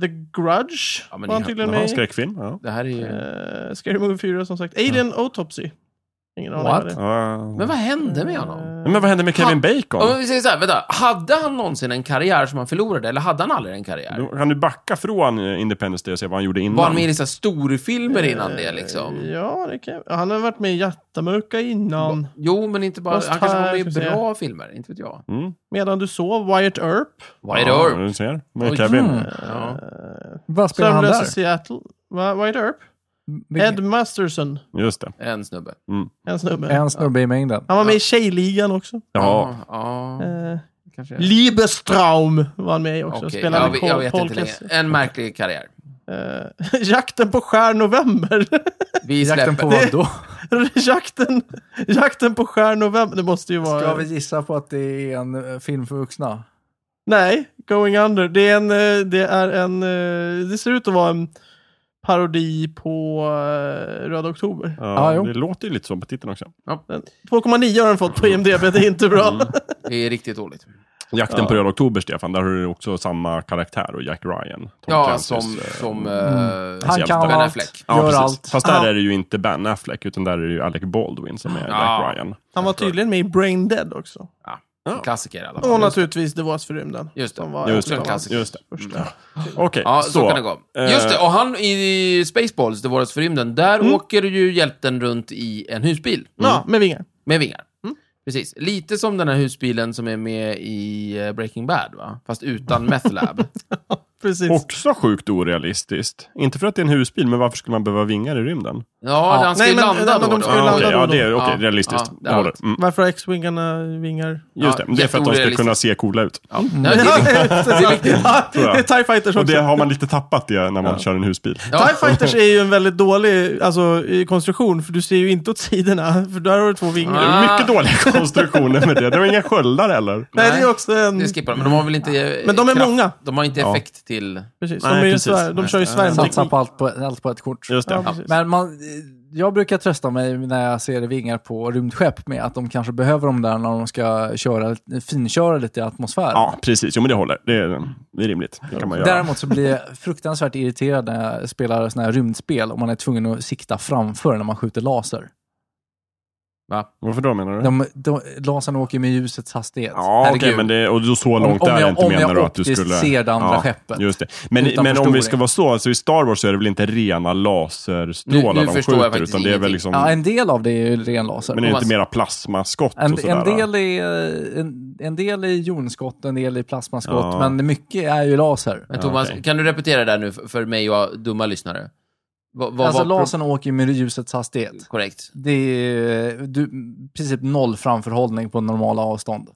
A: The Grudge
B: Ja, men
A: var han
B: det-
A: tydligen
D: Jaha,
A: med i.
D: skräckfilm. Ja.
B: Det här är ju...
A: Eh, Scary Movie 4 som sagt. Alien Autopsy. Ingen aning
C: What?
A: vad det är.
D: Ja.
B: Men vad hände med honom?
D: Men vad hände med Kevin Bacon?
B: Om vi säger så här, vänta. Hade han någonsin en karriär som han förlorade, eller hade han aldrig en karriär?
D: Då Kan du backa från eh, Independence Day och se vad han gjorde innan?
B: Var han med i så här storfilmer innan det,
A: Eh,
B: liksom?
A: Ja, det kan jag- Han har varit med i Jättemörka innan.
B: Jo, men inte bara...
A: Lost
B: Han kanske var med i
A: Time, ska vi
B: bra filmer, inte vet jag.
D: Mm.
A: Medan du sov, Wyatt Earp.
B: Wide
D: Ja,
B: Earp.
D: du ser. Med
B: Oj.
D: Kevin.
C: Mm.
B: Ja.
C: Vad spelar han
A: Sömnlös i
C: där?
A: Seattle. Va? Wyatt Earp?
C: Vilken-
A: Ed Masterson.
D: Just det.
B: En snubbe.
A: En snubbe.
C: En snubbe i mängden.
A: Han var med i Tjejligan också.
D: Ja.
B: Ja, ja,
A: Eh,
B: kanske.
A: Liebestraum var han med i också.
B: Okej, jag,
A: Spelade
B: vet- jag
A: ja,
B: vet inte längre. En märklig karriär.
A: Eh, <laughs> Jakten på Stjär November.
B: Vi
C: Jakten på
B: släpper...
C: vad då?
A: <laughs> jakten, jakten på Stjär November. Det måste ju vara...
C: Ska vi gissa på att det är en eh, film för vuxna?
A: Nej, Going Under. Det är en... eh, Det, är en, eh, det ser ut att vara en parodi på eh, Röda Oktober.
D: Ja,
C: jo.
D: det låter ju lite så på titeln också.
A: Den- 2,9 har den fått på IMDB. Det är inte bra.
B: Det är riktigt dåligt.
D: Jakten på Röda Oktober, Stefan, där har du också samma karaktär och Jack Ryan. Tom
B: Ja,
D: Clancys,
B: som...
D: eh,
B: som eh,
C: Han kan
D: Ben
C: allt,
B: Affleck.
D: ja,
C: gör
D: precis.
C: allt.
D: Fast där
C: Ah.
D: är det ju inte Ben Affleck, utan där är det ju Alec Baldwin som är
B: Ja.
D: Jack Ryan.
A: Han var tydligen med i Brain Dead också.
B: En Klassiker i alla
A: Och
B: fall.
A: naturligtvis Det var oss för rymden.
B: Just det.
A: Som var
D: Just
A: en
D: det.
A: av hans
D: Just det.
A: första.
D: Okej,
B: Ja, så,
D: så. Eh.
B: kan det gå. Just det, och han i Spaceballs, Det våras för rymden, där åker ju hjälten runt i en husbil.
A: Mm.
B: Mm.
A: Ja, Mm. med vingar.
B: Med vingar. Precis. Lite som den här husbilen som är med i eh, Breaking Bad, va? Fast utan
A: <laughs>
B: Meth Lab.
A: Precis.
D: Också sjukt orealistiskt. Inte för att det är en husbil, men varför skulle man behöva vingar i rymden?
B: Ja, han ska
A: Nej,
B: ju
A: men-
B: landa
A: nej,
B: då.
A: men de
B: då.
A: ska ju
D: Ja,
A: landa
D: okej,
A: då
D: ja,
A: då.
D: det är okej,
B: Ja,
D: realistiskt.
B: ja, det
D: det
B: är
D: håller.
B: allt.
D: Mm,
A: Varför har X-wingarna vingar?
D: just det,
B: Ja,
D: det är för att de ska
B: jätteorealistiskt.
D: kunna se coola ut.
B: Ja. Nej, det är viktigt.
A: <laughs> är viktigt. det
D: jag.
A: är TIE Fighters
D: Och
A: också.
D: det har man lite tappat det när man kör en husbil.
B: Ja.
A: TIE Fighters är ju en väldigt dålig alltså, i konstruktion, för du ser ju inte åt sidorna, för där har du två vingar.
D: Det är
B: Ah.
D: mycket dåliga <laughs> konstruktioner med det. Det var inga sköldar heller.
A: Nej,
B: nej.
A: det är också en...
B: Det skippar de, men de har väl inte... eh,
A: Mm. Men de är
B: kraft-
A: många.
B: De har inte
D: Ja.
B: effekt till...
A: Precis,
D: Nej,
A: de, är ju
D: precis.
A: svär, de kör ju
C: Satsa
A: svärmteknik.
C: på allt på, allt på ett kort.
D: Just det.
A: Ja, precis.
C: Men man, jag brukar trösta mig när jag ser vingar på rymdskepp med att de kanske behöver dem där när de ska köra, finköra lite i atmosfären.
D: Ja, precis. Jo, men det håller. Det är, det är rimligt. Det kan man göra.
C: Däremot så blir jag fruktansvärt irriterad när jag spelar såna här rymdspel och man är tvungen att sikta framför när man skjuter laser.
D: Varför då menar du?
C: De, de, lasern åker med ljusets hastighet.
D: Mm. Ja, okej, men det, och då så långt
C: om
D: där
C: jag-
D: inte
C: om jag
D: menar du att du
C: optiskt
D: skulle...
C: ser det andra skeppet.
D: Just det. Men,
C: Utan
D: men om vi
C: förstoring.
D: ska vara så, alltså i Star Wars så är det väl inte rena laserstrålar
B: Nu- nu
D: de
B: förstår jag
D: skjuter,
B: faktiskt
D: utan det är väl
B: ingenting.
D: liksom...
C: Ja, en del av det är ju ren laser.
D: men är det inte
B: Thomas.
D: mera plasmaskott och
C: En,
D: sådär?
C: en, del är, en, en del är jonskott, en del är plasmaskott,
D: Ja.
C: men mycket är ju laser.
B: Men Thomas,
D: okej.
B: kan du repetera det där nu för- för mig och dumma lyssnare? Vad, vad
C: Alltså
B: var
C: lasern åker ju med ljusets hastighet.
B: korrekt?
C: Det är du, i princip noll framförhållning på normala avstånd.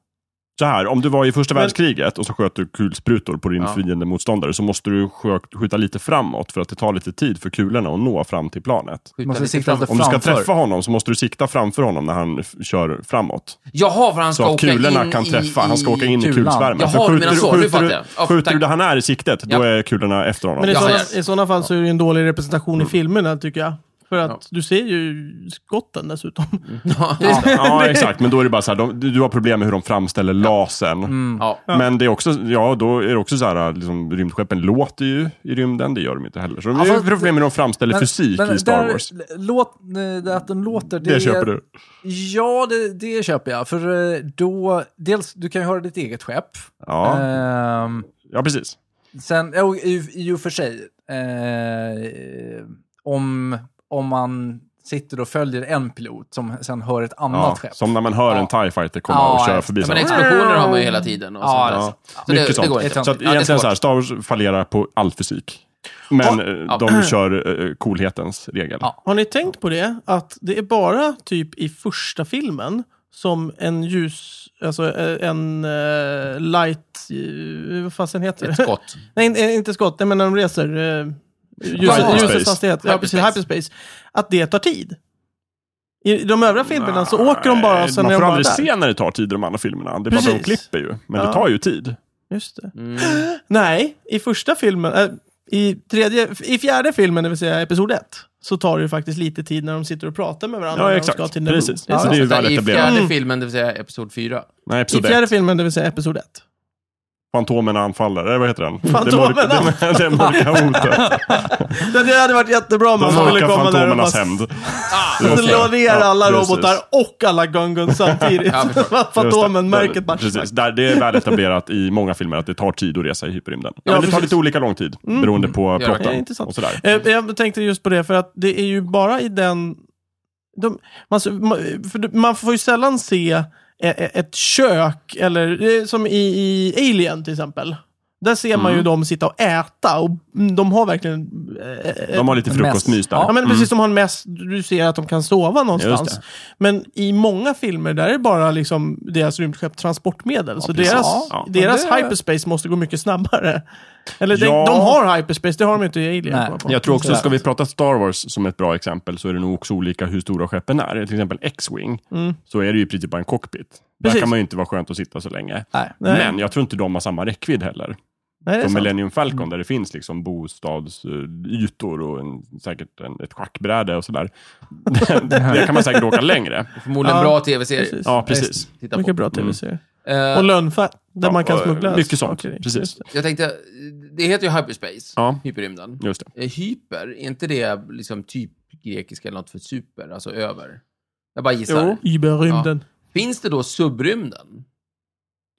D: Så här, om du var i första
A: Men-
D: världskriget och så sköt du kulsprutor på din
B: Ja.
D: fiende motståndare så måste du skö- skjuta lite framåt för att det tar lite tid för kulorna att nå fram till planet.
B: Skjuta
C: Måste
B: lite
C: sikta
B: framåt.
C: lite
D: Om du ska
C: framför.
D: träffa honom så måste du sikta framför honom när han f- kör framåt.
B: Jaha, för han ska
D: Så att
B: åka
D: kulorna
B: in
D: kan
B: i-
D: träffa. Han ska åka in i
C: kulan.
D: kulsvärmen.
B: Jaha,
D: För
B: du
D: skjuter
B: menar
D: du,
B: så. Nu
D: skjuter
B: fattar
D: du,
B: jag. Ja,
D: skjuter du
B: tack.
D: där han är i siktet, då
B: Ja.
D: är kulorna efter honom.
A: Men i
B: Ja,
A: sådana,
B: ja.
A: i sådana fall så är det ju en dålig representation i filmerna, tycker jag. För att du ser ju skotten dessutom.
B: Ja,
D: Ja,
B: <laughs>
D: exakt. Men då är det bara så här, de, du har problem med hur de framställer lasern.
B: Mm. ja.
D: Men det är också, ja, då är det också så här, liksom, rymdskeppen låter ju i rymden, det gör de inte heller. Så det
C: Ja,
D: är
C: fast-
D: problem med hur de framställer fysik i Star
C: där-
D: Wars.
C: Låt, eh, det att de låter, det,
D: Det köper du.
C: Ja, det, det köper jag. För eh, då, dels, du kan ju höra ditt eget skepp.
D: Ja,
B: eh,
C: Ehm,
D: ja precis.
C: Sen, jo, i, i och för sig, eh, om, om man sitter och följer en pilot som sen hör ett
D: Ja,
C: annat skepp.
D: som när man hör en
C: Ja.
D: TIE fighter komma
C: Ja,
D: och köra
C: ja.
D: förbi.
B: Men
D: så här,
B: explosioner har man ju hela tiden. Och
C: Ja,
B: sånt
C: det
B: där.
C: är
D: ja.
B: Så det,
D: Mycket
B: det går
D: sånt.
B: inte.
D: Så
C: Ja,
D: att
C: det
B: är
D: egentligen
B: svårt.
D: så här, Star Wars fallerar på all fysik. Men eh,
B: ja.
D: de kör eh, coolhetens regel.
C: Ja.
A: Har ni tänkt på det? Att det är bara typ i första filmen som en ljus, alltså eh, en eh, light, eh, vad fasen heter
B: Ett
A: det?
D: <laughs>
B: skott.
A: Nej, inte- inte skott. Nej, men när de reser. Eh, ljusets-
D: Hyperspace.
A: ljusets hastighet. Ja, precis.
B: Hyperspace.
A: Hyperspace. Att det tar tid. I de övriga filmerna så åker de bara och sen
D: man
A: är de
D: får
A: bara där.
D: aldrig se när det tar tid i de andra filmerna. Det är bara för att de
A: Precis.
D: klipper ju. Men
A: Ja.
D: det tar ju tid.
A: Just det.
B: Mm.
A: <gasps> Nej, i första filmen, äh, i, tredje, i fjärde filmen, det vill säga episod ett, så tar det ju faktiskt lite tid när de sitter och pratar med varandra.
D: Ja,
A: när
D: exakt.
A: De ska till Naboo.
D: Precis.
A: Ja,
D: Så det är ju
B: Så
D: väl
B: I
D: etablerat.
B: fjärde
A: Mm.
B: filmen, det vill säga episod fyra.
D: Nej,
A: I
D: episod ett.
A: fjärde filmen, det vill säga episod ett.
D: Fantomerna anfaller. Eller vad heter den?
A: Fantomerna.
D: Det mörka, det, det
A: <laughs>
D: mörka hotet.
A: Det det hade varit jättebra om
D: De
A: man
D: mörka
A: skulle komma där och
D: Fantomernas
A: bara
D: hämnd.
A: <laughs> slå ner
D: Ja,
A: alla
D: precis.
A: robotar och alla Gungans samtidigt. <laughs>
B: Ja, förstås.
A: Fantomen-märket bara...
D: Precis. Där, det är väl etablerat i många filmer att det tar tid att resa i hyperrymden.
A: Ja,
D: Eller det tar
A: precis.
D: lite olika lång tid beroende på
B: Ja,
A: det är
D: plotten
A: intressant.
D: och sådär.
A: Eh, Jag tänkte just på det, för att det är ju bara i den... De, man, för man får ju sällan se e- e- ett kök, eller eh, som i, i Alien till exempel. Där ser man ju
D: Mm.
A: dem sitta och äta och mm, de har verkligen... eh, eh,
D: De har lite
C: Mess.
D: frukostmys där.
A: Ja, men precis som han mest, du ser att de kan sova någonstans.
D: Just
A: Men i många filmer där är det bara liksom deras rymdskepp transportmedel. så
D: precis.
A: deras,
D: Ja.
A: deras
C: Ja, det-
A: hyperspace måste gå mycket snabbare. Eller de,
D: Ja.
A: de har hyperspace, det har de inte i Alien.
C: Nej.
A: kommer på.
D: Jag tror också,
C: Sådär.
D: ska vi prata Star Wars som ett bra exempel, så är det nog också olika hur stora skeppen är. Till exempel X-Wing, så är det ju i princip bara en cockpit. Där
A: Precis.
D: kan man ju inte vara skönt att sitta så länge.
C: Nej.
A: Nej.
D: Men jag tror inte de har samma räckvidd heller.
A: Nej, det är
D: Som
A: sant.
D: Millennium Falcon, där det finns liksom bostadsytor och en, säkert en, ett schackbräde och sådär. Där kan man säkert åka längre.
B: Förmodligen
A: Ja,
B: bra tv-serie.
A: Precis.
D: Ja, precis.
B: Titta på.
A: Mycket bra tv-serier.
B: Eh,
A: Och lönnfett, där
D: Mm. Ja,
A: man kan
D: och
A: smuggla
D: Mycket sånt,
A: saker i.
D: precis.
B: jag tänkte, eh, det heter ju hyperspace,
D: Ja.
B: hyperrymden.
D: Just det.
B: Eh, Hyper, är inte det liksom typ grekiska eller något för super, alltså över? Jag bara gissar.
A: Jo, Iberrymden.
B: Finns det då subrymden?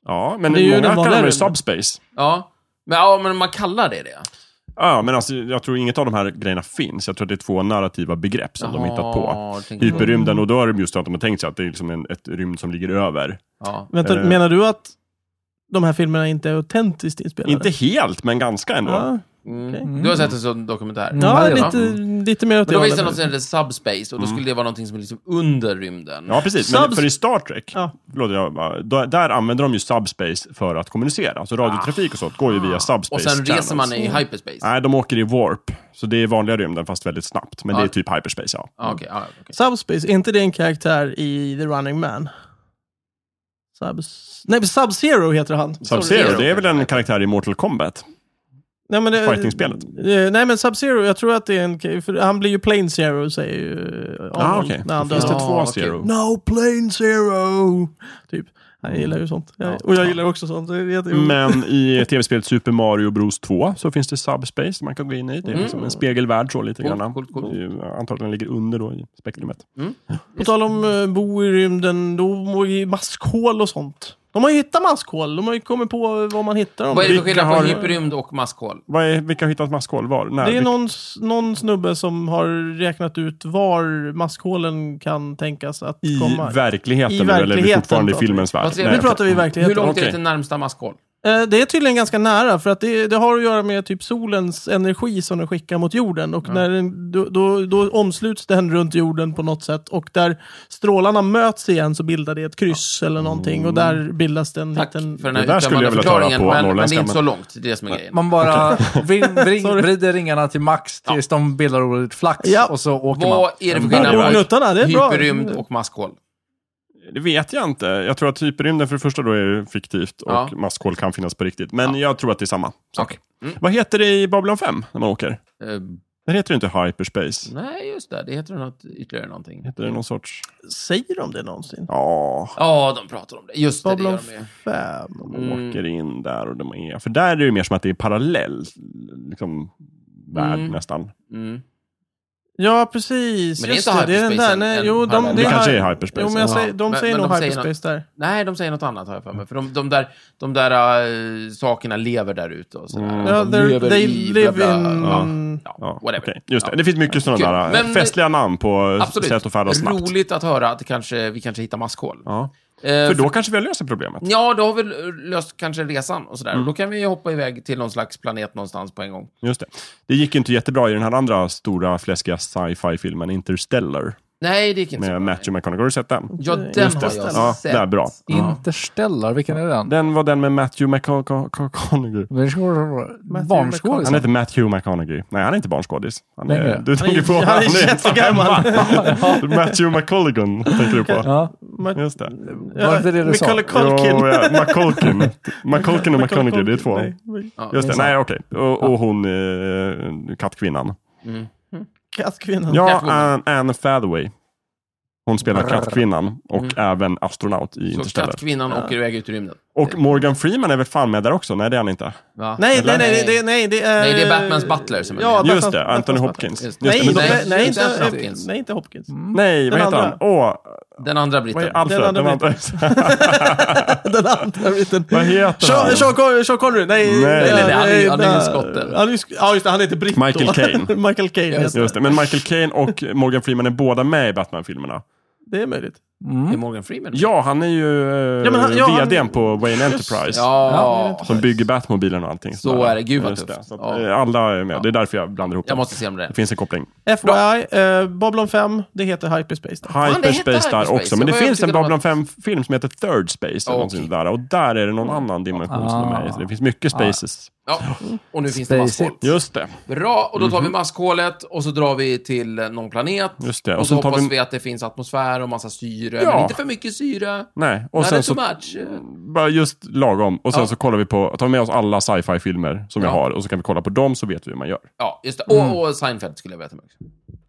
D: Ja, men
A: Det är ju den
D: många kallar
A: vanliga
D: det subspace.
B: Ja. Men, ja, men man kallar det det.
D: Ja, men alltså, jag tror inget av de här grejerna finns. Jag tror att det är två narrativa begrepp som de
B: Jaha,
D: hittat på.
B: tänker jag.
D: Hyperrymden, och då är det just att de har tänkt sig att det är liksom en, ett rymd som ligger över.
B: Ja.
A: Vänta,
D: Eh.
A: menar du att de här filmerna inte är autentiskt inspelade?
D: Inte helt, men ganska ändå.
A: Ja,
B: Mm.
C: Okej.
B: Du har sett en sån dokumentär?
A: ja
C: Ja,
A: lite,
D: Mm.
A: lite mer åt
B: Men
A: det
B: då finns det något
A: hållet.
B: som heter subspace, och då skulle det vara någonting som är liksom under rymden.
D: Ja, precis. Men
A: Subs-
D: för i Star Trek,
A: Ja.
D: förlåt, jag, bara- då- där använder de ju subspace för att kommunicera. Så radiotrafik och sånt går ju
A: Ah.
D: via subspace
B: och sen
D: channels.
B: reser man i hyperspace.
D: Nej, de åker i warp. Så det är vanliga rymden, fast väldigt snabbt. Men
B: Ja.
D: det är typ hyperspace, ja.
B: Ja, Ah, okej, ja, okej.
D: Mm.
A: Subspace, är inte det en karaktär i The Running Man? Subs... Nej, men Sub-Zero heter han.
D: Sub-Zero, det är väl en karaktär i Mortal Kombat?
A: Nej, men det-
D: Fighting-spelet.
A: Eh, Nej, men Sub-Zero, jag tror att det är en... För han blir ju Plane Zero, säger ju eh,
D: Ja,
A: Arnold
D: Ah, okej.
A: när han
D: Då finns det
A: dör.
B: Ja,
D: två
B: okej.
D: Zero.
A: No, Plane Zero! Typ. Jag gillar ju sånt. Jag, och jag gillar också sånt. Det är jätteroligt.
D: Men i tv-spelet Super Mario Bros 2 så finns det subspace man kan gå in i. Det är liksom en spegelvärld så lite
B: Coolt,
D: grann.
B: coolt, coolt.
D: Det är- Antagligen ligger under då i spektrumet.
A: På tal om eh, bo i rymden, då må ju maskhål och sånt. De har ju hittat maskhål. De har ju kommit på vad man hittar dem.
B: Vad är det för
D: Vilka
B: skillnad på
D: har-
B: hyperrymd och maskhål?
D: Vad är, vilka har hittat maskhål var? När?
A: Det är
D: Vilka-
A: någon, s- någon snubbe som har räknat ut var maskhålen kan tänkas att
D: I
A: komma.
D: verkligheten,
A: I
D: nu, eller är vi
A: verkligheten
D: fortfarande i
A: pratar vi.
D: filmens värld?
B: Vad ser-
D: Nej,
A: nu
D: okej.
B: verkligheten.
A: pratar vi i
B: Hur
A: verkligheten.
B: långt är
D: Okej.
B: det till närmsta maskhål?
A: Eh, Det är tydligen ganska nära, för att det, det har att göra med typ solens energi som den skickar mot jorden. Och när den, då, då, då omsluts den runt jorden på något sätt och där strålarna möts igen så bildar det ett kryss eller någonting och där bildas det en
B: Mm. Tack för
A: liten...
B: den
D: Det där
B: här
D: skulle
B: uttömmande
D: jag vilja höra
B: förklaringen,
D: på
B: men, men det är
D: norrländska,
B: inte så långt. Det är det som är grejen.
C: Man
D: <laughs>
C: bara vrin, vrin,
A: Sorry.
C: vrider ringarna till max tills de bildar ordet flax
A: Ja.
C: och så åker man.
B: Vad är det för
D: Men-
B: skillnad
A: Och
B: på
A: nuttarna, det är bra.
B: hyperrymd och maskhål?
D: Det vet jag inte. Jag tror att hyperrymden för det första då är fiktivt och
B: Ja.
D: maskhål kan finnas på riktigt. Men jag tror att det är samma sak.
B: Okej. Mm.
D: Vad heter det i Babylon 5 när man åker?
B: Eh,
D: Den heter ju inte hyperspace.
B: Nej, just det. Det heter något, ytterligare någonting.
D: Heter det någon sorts...
A: Säger de det någonsin?
D: Ja,
B: Ja, de pratar om det. Just det, det
A: Babylon
B: gör de ju.
A: 5.
D: de åker in där och de är... För där är det ju mer som att det är parallell liksom, värld
B: Mm.
D: nästan.
B: Mm.
A: Ja, precis.
B: Men det är
A: Just
B: inte
A: det är den
B: hyperspace
A: där.
B: än-
A: Nej,
B: än
A: jo, de,
B: parallell.
D: Det
B: Ja.
D: kanske är hyperspace.
A: Jo, men jag säger, de
B: Men-
A: säger
B: men
A: nog
B: de säger
A: hyperspace där.
B: Nej, de säger något annat har jag för mig. För de, de där, de där äh, sakerna lever där ute och sådär.
D: Mm.
B: De
A: Ja, they're-
B: lever
A: they
B: i
A: live
B: bla, bla,
A: in...
B: bla. Ja,
D: Ja,
B: whatever.
D: okej. Just det.
B: Ja.
D: det finns mycket
B: Kul.
D: sådana där
B: Men-
D: festliga namn på
B: Absolut.
D: sätt att färdas snabbt.
B: Roligt att höra att det kanske, vi kanske hittar maskhål.
D: Ja.
B: Eh,
D: För då kanske vi har löst problemet.
B: Ja, då har vi löst kanske resan och sådär.
D: Mm.
B: Och då kan vi ju hoppa iväg till någon slags planet någonstans på en gång.
D: Just det. det gick inte jättebra i den här andra stora fläskiga sci-fi-filmen Interstellar
B: Nej, det gick inte
D: med
B: så.
D: Matthew McConaughey. Har du sett den?
B: Ja,
A: Just
B: den har jag
A: det.
D: Mm, Ja,
B: sett.
D: där, bra.
C: Interstellar, vilken är den?
D: Den var den med Matthew McConaughey. Han
C: Barnskådisen.
D: heter Matthew McConaughey. Nej, han är inte barnskådis. Han
C: Nej,
D: är,
C: nej.
D: du tänker på...
A: Han är jättegammal.
D: <laughs> Matthew McColligan tänker du på.
C: Ja,
D: Just det.
C: Var det inte det du sa?
A: Macaulay Culkin.
D: Jo, ja,
A: <laughs>
D: McColkin. McColkin och McConaughey, det är två.
A: Nej, nej.
B: Ja.
D: Just det,
C: det är
D: nej okej. Och, och hon, eh, kattkvinnan.
B: Mm.
A: Kattkvinnan.
D: Ja,
B: Catwoman.
D: Anne, Anne Fathaway. Hon spelar
B: Brr.
D: kattkvinnan och
A: Mm.
D: även astronaut i
B: Så
D: Interstellar.
B: kattkvinnan åker iväg ut i rymden.
D: Och Morgan Freeman är väl fan med där också? Nej, det är han inte.
B: Va?
A: Nej, nej,
D: Eller?
A: nej, det, nej, det är...
B: Nej, det är Batmans butler som är
A: Ja,
B: med.
A: Batmans-
D: Just det,
A: Batmans
D: Anthony
A: butler.
D: Hopkins.
B: Just
D: Just
B: det.
D: det.
A: Nej,
D: Men de,
A: nej,
B: de-
A: nej,
B: inte
A: inte
B: Hopkins. Mm.
A: Hopkins. Nej, inte Hopkins.
D: nej, vad
A: Den
D: heter han?
A: andra.
D: Åh,
B: Den andra
D: vad
B: britten.
D: är Alfred?
A: Den andra
D: Den var inte-
A: <laughs> Den andra biten.
D: vad heter
A: Sean,
D: han?
A: Sean, Con- Sean Connery, nej.
D: Nej. Nej,
B: nej, nej, han är ju- han är ju
A: eh,
B: skott, eller?
A: han är ju sk- Ja, just det, han heter Britt då. <laughs>
D: Michael Caine.
A: Michael Caine,
B: Just
A: heter
D: Just
A: det.
D: det, men Michael Caine och Morgan Freeman är båda med i Batman-filmerna.
A: Det är möjligt.
B: Det är Morgan Freeman.
D: Mm. Ja, han är ju eh,
A: Ja, men han- ja, han-
D: vdn på Wayne Enterprise.
B: Ja.
D: Som bygger Batmobilen och allting.
B: Så
D: sådär.
B: är det. Gud, vad
D: Just
B: tufft.
D: det. Så att,
B: Ja.
D: eh, Alla är med. Det är därför jag blandar ihop
B: Jag
D: dem.
B: måste se om det.
D: Det
B: är.
D: finns en koppling.
A: FYI, eh, Babylon 5, det heter Hyperspace. där.
B: det heter
D: Hyperspace där
B: Hyperspace.
D: också. Men det
B: Jag var
D: finns en
B: övertygad om
D: Babylon 5-film som heter Third Space.
B: Ja,
D: Eller någonting
B: okej. Ah.
D: där, och där är det någon annan dimension som är med. i. Så Det finns mycket spaces.
B: Ja.
D: Mm.
B: Och nu finns det
C: Space
B: maskhål.
C: it.
D: Just det.
B: Bra, och då tar vi maskhålet och så drar vi till eh, någon planet.
D: Mhm. Just det, och
B: Och, så
D: sen tar
B: hoppas
D: vi-
B: vi... att det finns atmosfär och massa syre.
D: Ja.
B: Men inte för mycket syre.
D: Nej, och
B: Och
D: sen
B: sen
D: så...
B: too much.
D: Bara just lagom. Och sen
B: Ja.
D: så kollar vi på, tar med oss alla sci-fi-filmer som jag
B: Ja.
D: har och så kan vi kolla på dem så vet vi hur man gör.
B: Ja, just det.
D: Mm.
B: Och, och Seinfeld skulle jag veta med också.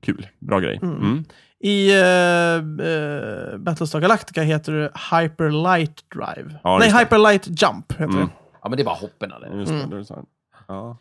D: Kul. Bra grej. Mm.
A: I eh, eh, Battlestar Galactica heter det Hyperlight Drive.
D: Ja,
A: nej,
D: just det. Mm.
A: Hyperlight Jump heter det.
B: Ja, men det är bara hoppen. Eller?
D: Just det,
A: Mm.
D: det är så här. Ja.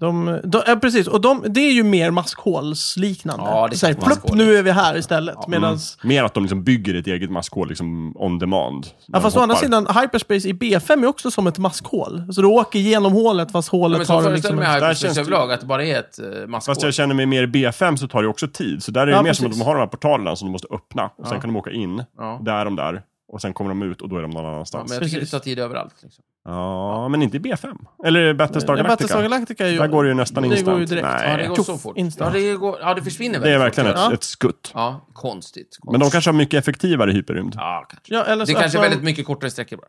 A: De, de, ja, precis, och de, det är ju mer maskhålsliknande.
B: Ja, det är
A: Så här,
B: maskhål. Mm.
A: plupp, nu är vi här istället. Medans,
D: Mer att de liksom bygger ett eget maskhål liksom on demand.
A: ja,
D: Man
A: fast å andra
D: hoppar.
A: sidan, hyperspace i B5 är också som ett maskhål. Så du åker genom hålet fast
B: Ja,
A: hålet
B: men
A: har
B: så
A: en
B: föreställer
A: liksom...
B: jag mig
A: en-
D: Där
B: Hyperspace
D: känns det-
B: överlag, att det bara är ett eh, maskhål.
D: Fast jag känner mig mer i B5 så tar det också tid. Så där är det
A: Ja,
D: mer som att
A: precis.
D: de har de här portalerna som de måste öppna. Och sen
B: Ja.
D: kan de åka in.
B: Ja.
D: Där är de där. Och sen kommer de ut och då är de någon
B: Ja,
D: annanstans. Ja,
B: men jag tycker det
A: Precis.
B: tar tid överallt. Liksom.
D: men, inte i B5. Eller Battlestar
A: Ja,
D: Galactica.
A: Battlestar Galactica är ju...
D: Där går det ju nästan
A: Det går ju
D: instant.
A: direkt.
B: Ja,
D: Nej.
B: det går
A: Tuff,
B: så fort. Ja,
A: instant.
B: det, går, ja, det
D: det
B: försvinner
D: är
B: väldigt
D: verkligen
B: fort.
D: ett,
A: Ja.
D: ett skutt.
B: Ja, konstigt. konstigt.
D: Men de kanske har mycket effektivare hyperrymd.
B: Ja, kanske.
A: Ja, eller så
B: Det kanske är
A: att de-
B: väldigt mycket kortare sträckor bara.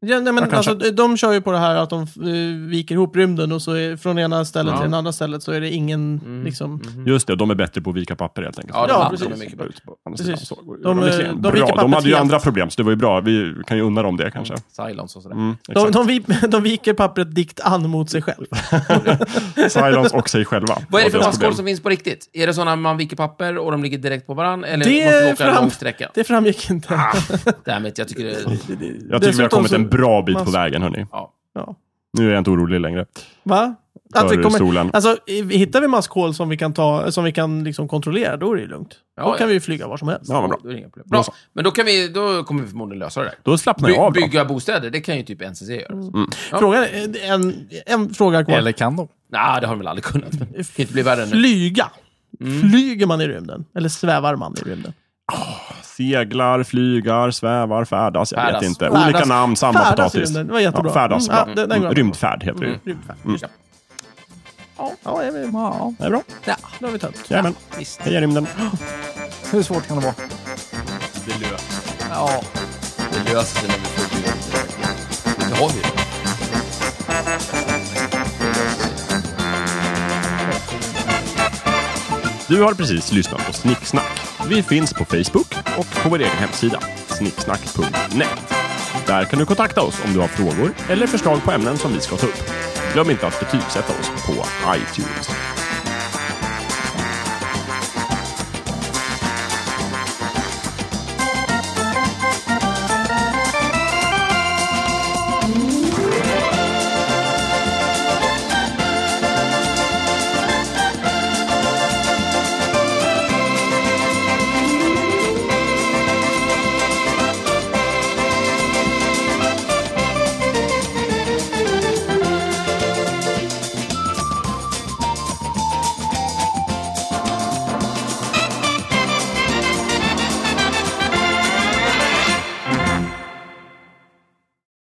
A: Ja, nej, men
D: Ja, kanske.
A: alltså, de- de kör ju på det här att de eh, viker ihop rymden och så är, från ena stället
B: Ja. Mm.
A: till det andra stället så är det ingen liksom...
D: Just det, och de är bättre på att vika papper helt enkelt.
B: Ja,
A: de- de
B: är mycket bättre.
D: Ut på andra sidan.
A: Precis.
D: Så går-
A: De,
D: de, är clean.
A: de
D: Bra.
A: viker
D: de
A: pappret
D: hade ju
A: helt.
D: andra problem, så det var ju bra. Vi kan ju unna dem det kanske.
B: Silence och sådär.
D: Mm,
A: De,
D: exakt.
A: de, vi- <laughs> de viker pappret dikt an mot sig själv.
D: <laughs> Silence och sig själva.
B: <laughs> Vad är det
D: var
B: för
D: deras problem.
B: maskhål som finns på riktigt? Är det sådana man viker papper och de ligger direkt på varandra? Eller
A: Det
B: måste du åka Ah. en
A: fram-
D: <laughs>
B: lång sträcka?
A: Det framgick inte.
B: Dammit, jag tycker det...
D: Jag tycker vi har
A: Dessutom
D: kommit
A: så-
D: en bra bit på
A: mas-
D: vägen, hörni.
A: Ja.
D: Nu är jag inte orolig längre.
A: Va?
D: För
A: Att vi kommer,
D: solen.
A: alltså, i- hittar vi maskhål som vi kan, ta, som vi kan liksom kontrollera, då är det ju lugnt.
B: Ja,
A: då
B: ja.
A: kan vi ju flyga var som helst.
D: Ja, vad bra.
B: Då är det inga problem. Bra,
D: Då så.
B: men då, kan vi, då kommer vi förmodligen lösa det där.
D: Då slappnar jag
B: By,
D: av. då.
B: bygga bostäder, det kan ju typ NCC göra.
D: Mm.
B: Nej, Ja.
A: Frågan, är- en, en fråga kvar.
C: Eller kan de?
B: det har de väl aldrig kunnat. men Det Mm. kan inte bli värre nu.
A: Flyga. Flyger man i rymden? Eller svävar man i rymden?
D: Seglar, flygar, svävar, färdas. Jag
B: Färdas.
D: vet inte.
A: Färdas.
D: Olika namn, samma
A: Färdas i
D: potatis.
A: rymden. Det var jättebra.
D: Ja, färdas,
A: Mm,
D: bra.
A: ja, den- den går
D: Mm,
A: bra.
D: Rymdfärd heter det ju.
A: Rymdfärd.
D: Mm.
A: Ja, jag vill-
C: Ja.
D: Det är bra.
A: ja, då har vi tömt.
D: Jajamän.
B: Visst.
D: Heja rymden.
C: Hur svårt kan det vara?
B: Det löser Ja. Det löser sig när vi får det. Det har vi ju.
D: Du har precis lyssnat på Snicksnack. Vi finns på Facebook och på vår egen hemsida, snicksnack.net. Där kan du kontakta oss om du har frågor eller förslag på ämnen som vi ska ta upp. Glöm inte att betygsätta oss på iTunes.